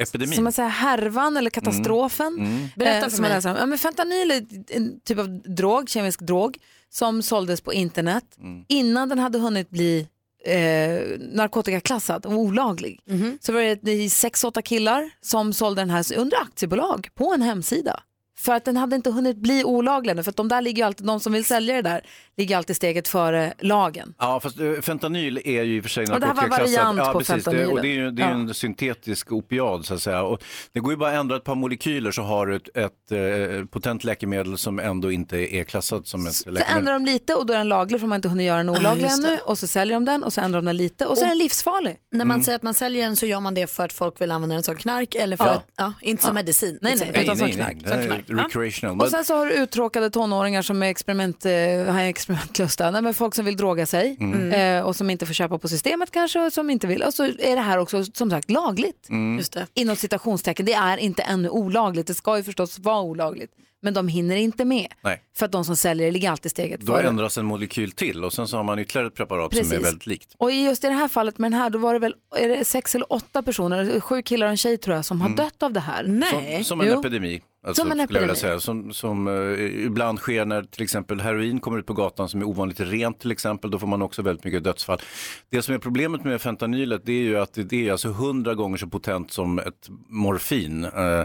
[SPEAKER 3] Epidemin.
[SPEAKER 2] som man säger, härvan eller katastrofen.
[SPEAKER 3] Mm. Mm.
[SPEAKER 4] Berätta
[SPEAKER 2] Eh,
[SPEAKER 4] för
[SPEAKER 2] som man
[SPEAKER 4] mig.
[SPEAKER 2] läser om. Ja, men fentanyl är en typ av drog, kemisk drog som såldes på internet
[SPEAKER 3] Mm.
[SPEAKER 2] innan den hade hunnit bli eh, narkotikaklassad och olaglig.
[SPEAKER 4] Mhm.
[SPEAKER 2] Så var det i sex, åtta killar som sålde den här under aktiebolag på en hemsida. För att den hade inte hunnit bli olaglig ännu, för att de, där ligger ju alltid, de som vill sälja det där ligger alltid steget före lagen.
[SPEAKER 3] Ja, fast eh, fentanyl är ju i och för sig
[SPEAKER 2] Och det här var variant på
[SPEAKER 3] Det,
[SPEAKER 2] fentanylen.
[SPEAKER 3] och det är ju, det är ju
[SPEAKER 2] Ja.
[SPEAKER 3] en syntetisk opiad så att säga. Och det går ju bara att ändra ett par molekyler så har du ett, ett eh, potent läkemedel som ändå inte är klassat som ett
[SPEAKER 2] Så ändrar
[SPEAKER 3] läkemedel.
[SPEAKER 2] de lite och då är den laglig för man har inte hunnit göra den olaglig
[SPEAKER 4] just det.
[SPEAKER 2] ännu och så säljer de den och så ändrar de den lite och så är den livsfarlig.
[SPEAKER 4] När man säger att man säljer den så gör man det för att folk vill använda den som knark eller för
[SPEAKER 2] Ja.
[SPEAKER 4] att, ja, inte som
[SPEAKER 2] Ja.
[SPEAKER 4] medicin.
[SPEAKER 2] Nej, nej,
[SPEAKER 4] liksom.
[SPEAKER 2] utan som knark.
[SPEAKER 3] Det här är exakt. Recreational.
[SPEAKER 2] Och sen så har du uttråkade tonåringar som är experiment, eh, har experimentlusta. Nej, men folk som vill droga sig
[SPEAKER 3] Mm.
[SPEAKER 2] eh, och som inte får köpa på systemet kanske och som inte vill. Och så är det här också som sagt lagligt.
[SPEAKER 3] Mm.
[SPEAKER 4] Just det.
[SPEAKER 2] Inom citationstecken. Det är inte ännu olagligt. Det ska ju förstås vara olagligt. Men de hinner inte med.
[SPEAKER 3] Nej.
[SPEAKER 2] För att de som säljer det ligger alltid steget
[SPEAKER 3] Då
[SPEAKER 2] före.
[SPEAKER 3] ändras en molekyl till och sen så har man ytterligare ett preparat som
[SPEAKER 2] Precis.
[SPEAKER 3] är väldigt likt.
[SPEAKER 2] Och i just i det här fallet med den här, då var det väl är det sex eller åtta personer, sju killar och en tjej tror jag, som har
[SPEAKER 3] Mm.
[SPEAKER 2] dött av det här.
[SPEAKER 3] Som, som en
[SPEAKER 2] Jo.
[SPEAKER 3] epidemi. Alltså,
[SPEAKER 2] Som en
[SPEAKER 3] skulle jag vilja
[SPEAKER 2] epidemi.
[SPEAKER 3] Säga, som som eh, ibland sker när till exempel heroin kommer ut på gatan som är ovanligt rent till exempel. Då får man också väldigt mycket dödsfall. Det som är problemet med fentanylet det är ju att det- det är alltså hundra gånger så potent som ett morfin. Eh,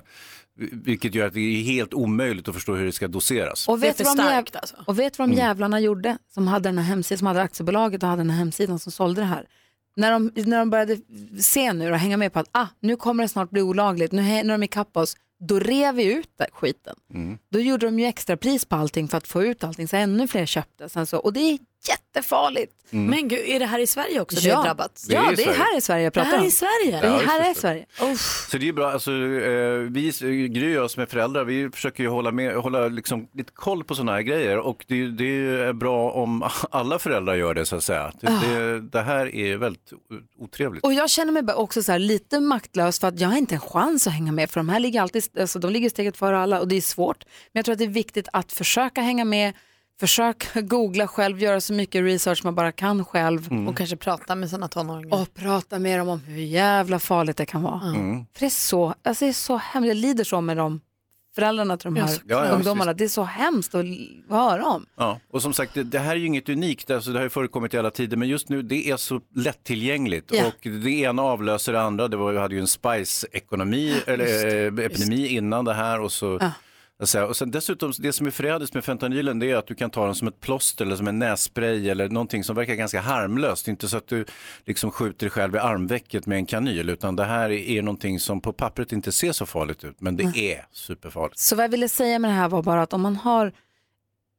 [SPEAKER 3] vilket gör att det är helt omöjligt att förstå hur det ska doseras.
[SPEAKER 2] Och vet,
[SPEAKER 4] Det är
[SPEAKER 2] du vad
[SPEAKER 4] för
[SPEAKER 2] de
[SPEAKER 4] starkt,
[SPEAKER 2] jäv... och vet du vad de jävlarna gjorde som hade den här hemsidan, som hade aktiebolaget och hade den här hemsidan som sålde det här? När de, när de började se nu och hänga med på att ah, nu kommer det snart bli olagligt, nu hä- när de är ikapp oss, då rev vi ut den skiten. Då gjorde de ju extra pris på allting för att få ut allting så ännu fler köpte. Sen så, och det är jättefarligt.
[SPEAKER 4] Mm. Men gud, är det här i Sverige också det är drabbat?
[SPEAKER 2] Ja, det är här i Sverige jag pratar
[SPEAKER 4] Det här
[SPEAKER 2] om.
[SPEAKER 4] är i Sverige?
[SPEAKER 2] Det
[SPEAKER 3] Ja,
[SPEAKER 2] är här i
[SPEAKER 3] just
[SPEAKER 2] Sverige.
[SPEAKER 3] Så det är ju bra, alltså, eh, vi Gry och jag som är föräldrar, vi försöker ju hålla, med, hålla liksom, lite koll på sådana här grejer och det, är ju- det är ju bra om alla föräldrar gör det så att säga. Det,
[SPEAKER 2] Ah.
[SPEAKER 3] det, det här är väldigt o- otrevligt.
[SPEAKER 2] Och jag känner mig bara också så här lite maktlös för att jag har inte en chans att hänga med för de här ligger alltid, alltså de ligger steget före alla och det är svårt. Men jag tror att det är viktigt att försöka hänga med, försöka googla själv, göra så mycket research man bara kan själv.
[SPEAKER 7] Och kanske prata med sina tonåringar.
[SPEAKER 2] Och prata med dem om hur jävla farligt det kan vara.
[SPEAKER 7] Mm.
[SPEAKER 2] För det är så, alltså det är så hemskt, jag lider så med de föräldrarna till de
[SPEAKER 3] Ja,
[SPEAKER 2] här
[SPEAKER 3] såklart.
[SPEAKER 2] ungdomarna.
[SPEAKER 3] Ja, ja,
[SPEAKER 2] det är så hemskt att l- höra om.
[SPEAKER 3] Ja, och som sagt, det, det här är ju inget unikt, alltså, det har ju förekommit i alla tider, men just nu det är så lättillgängligt
[SPEAKER 2] Ja.
[SPEAKER 3] och det ena avlöser det andra. Det var, vi hade ju en spice-ekonomi, eller
[SPEAKER 8] Just det,
[SPEAKER 3] eh, epidemi innan det här och så
[SPEAKER 8] Ja.
[SPEAKER 3] Alltså, och sen dessutom, det som är förrädiskt med fentanylen det är att du kan ta den som ett plåster eller som en nässpray eller någonting som verkar ganska harmlöst. Det är inte så att du liksom skjuter dig själv i armvecket med en kanyl utan det här är någonting som på pappret inte ser så farligt ut men det är superfarligt.
[SPEAKER 2] Så vad jag ville säga med det här var bara att om man har,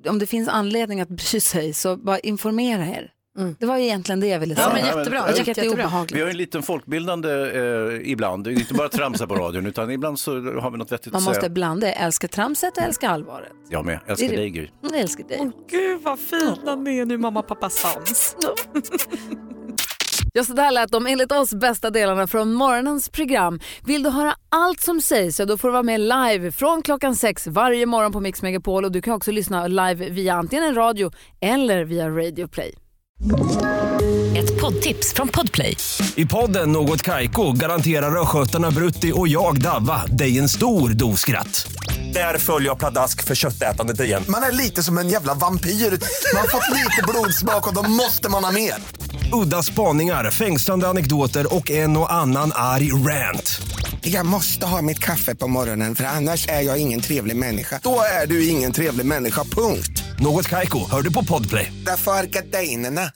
[SPEAKER 2] om det finns anledning att bry sig så bara informera er. Det var ju egentligen det jag ville säga. Jag tycker att det är obehagligt.
[SPEAKER 3] Vi har ju en liten folkbildande eh, ibland, Det är inte bara tramsa på radion utan ibland så har vi något vettigt
[SPEAKER 2] Man
[SPEAKER 3] att
[SPEAKER 2] måste
[SPEAKER 3] säga.
[SPEAKER 2] blanda, jag älskar tramset och älskar allvaret.
[SPEAKER 3] Jag med, älskar
[SPEAKER 2] Det är-
[SPEAKER 3] dig Gry.
[SPEAKER 2] Jag älskar dig.
[SPEAKER 7] Gud vad fina ni är nu mamma och pappa sams.
[SPEAKER 2] Ja, så där lät de enligt oss bästa delarna från morgonens program. Vill du höra allt som sägs så då får du vara med live från klockan sex varje morgon på Mix Megapol och du kan också lyssna live via antingen en radio eller via Radio Play.
[SPEAKER 1] Ett poddtips från Podplay.
[SPEAKER 8] I podden Något Kaiko garanterar östgötarna Brutti och jag, Davva, dig en stor dos skratt. Där följer jag pladask för köttätandet igen.
[SPEAKER 21] Man är lite som en jävla vampyr. Man har fått lite blodsmak och då måste man ha mer.
[SPEAKER 8] Udda spaningar, fängslande anekdoter och en och annan arg rant.
[SPEAKER 21] Jag måste ha mitt kaffe på morgonen för annars är jag ingen trevlig människa. Då är du ingen trevlig människa, punkt.
[SPEAKER 8] Något Kaiko, hör du på podplay.
[SPEAKER 21] Därför arkadeinerna.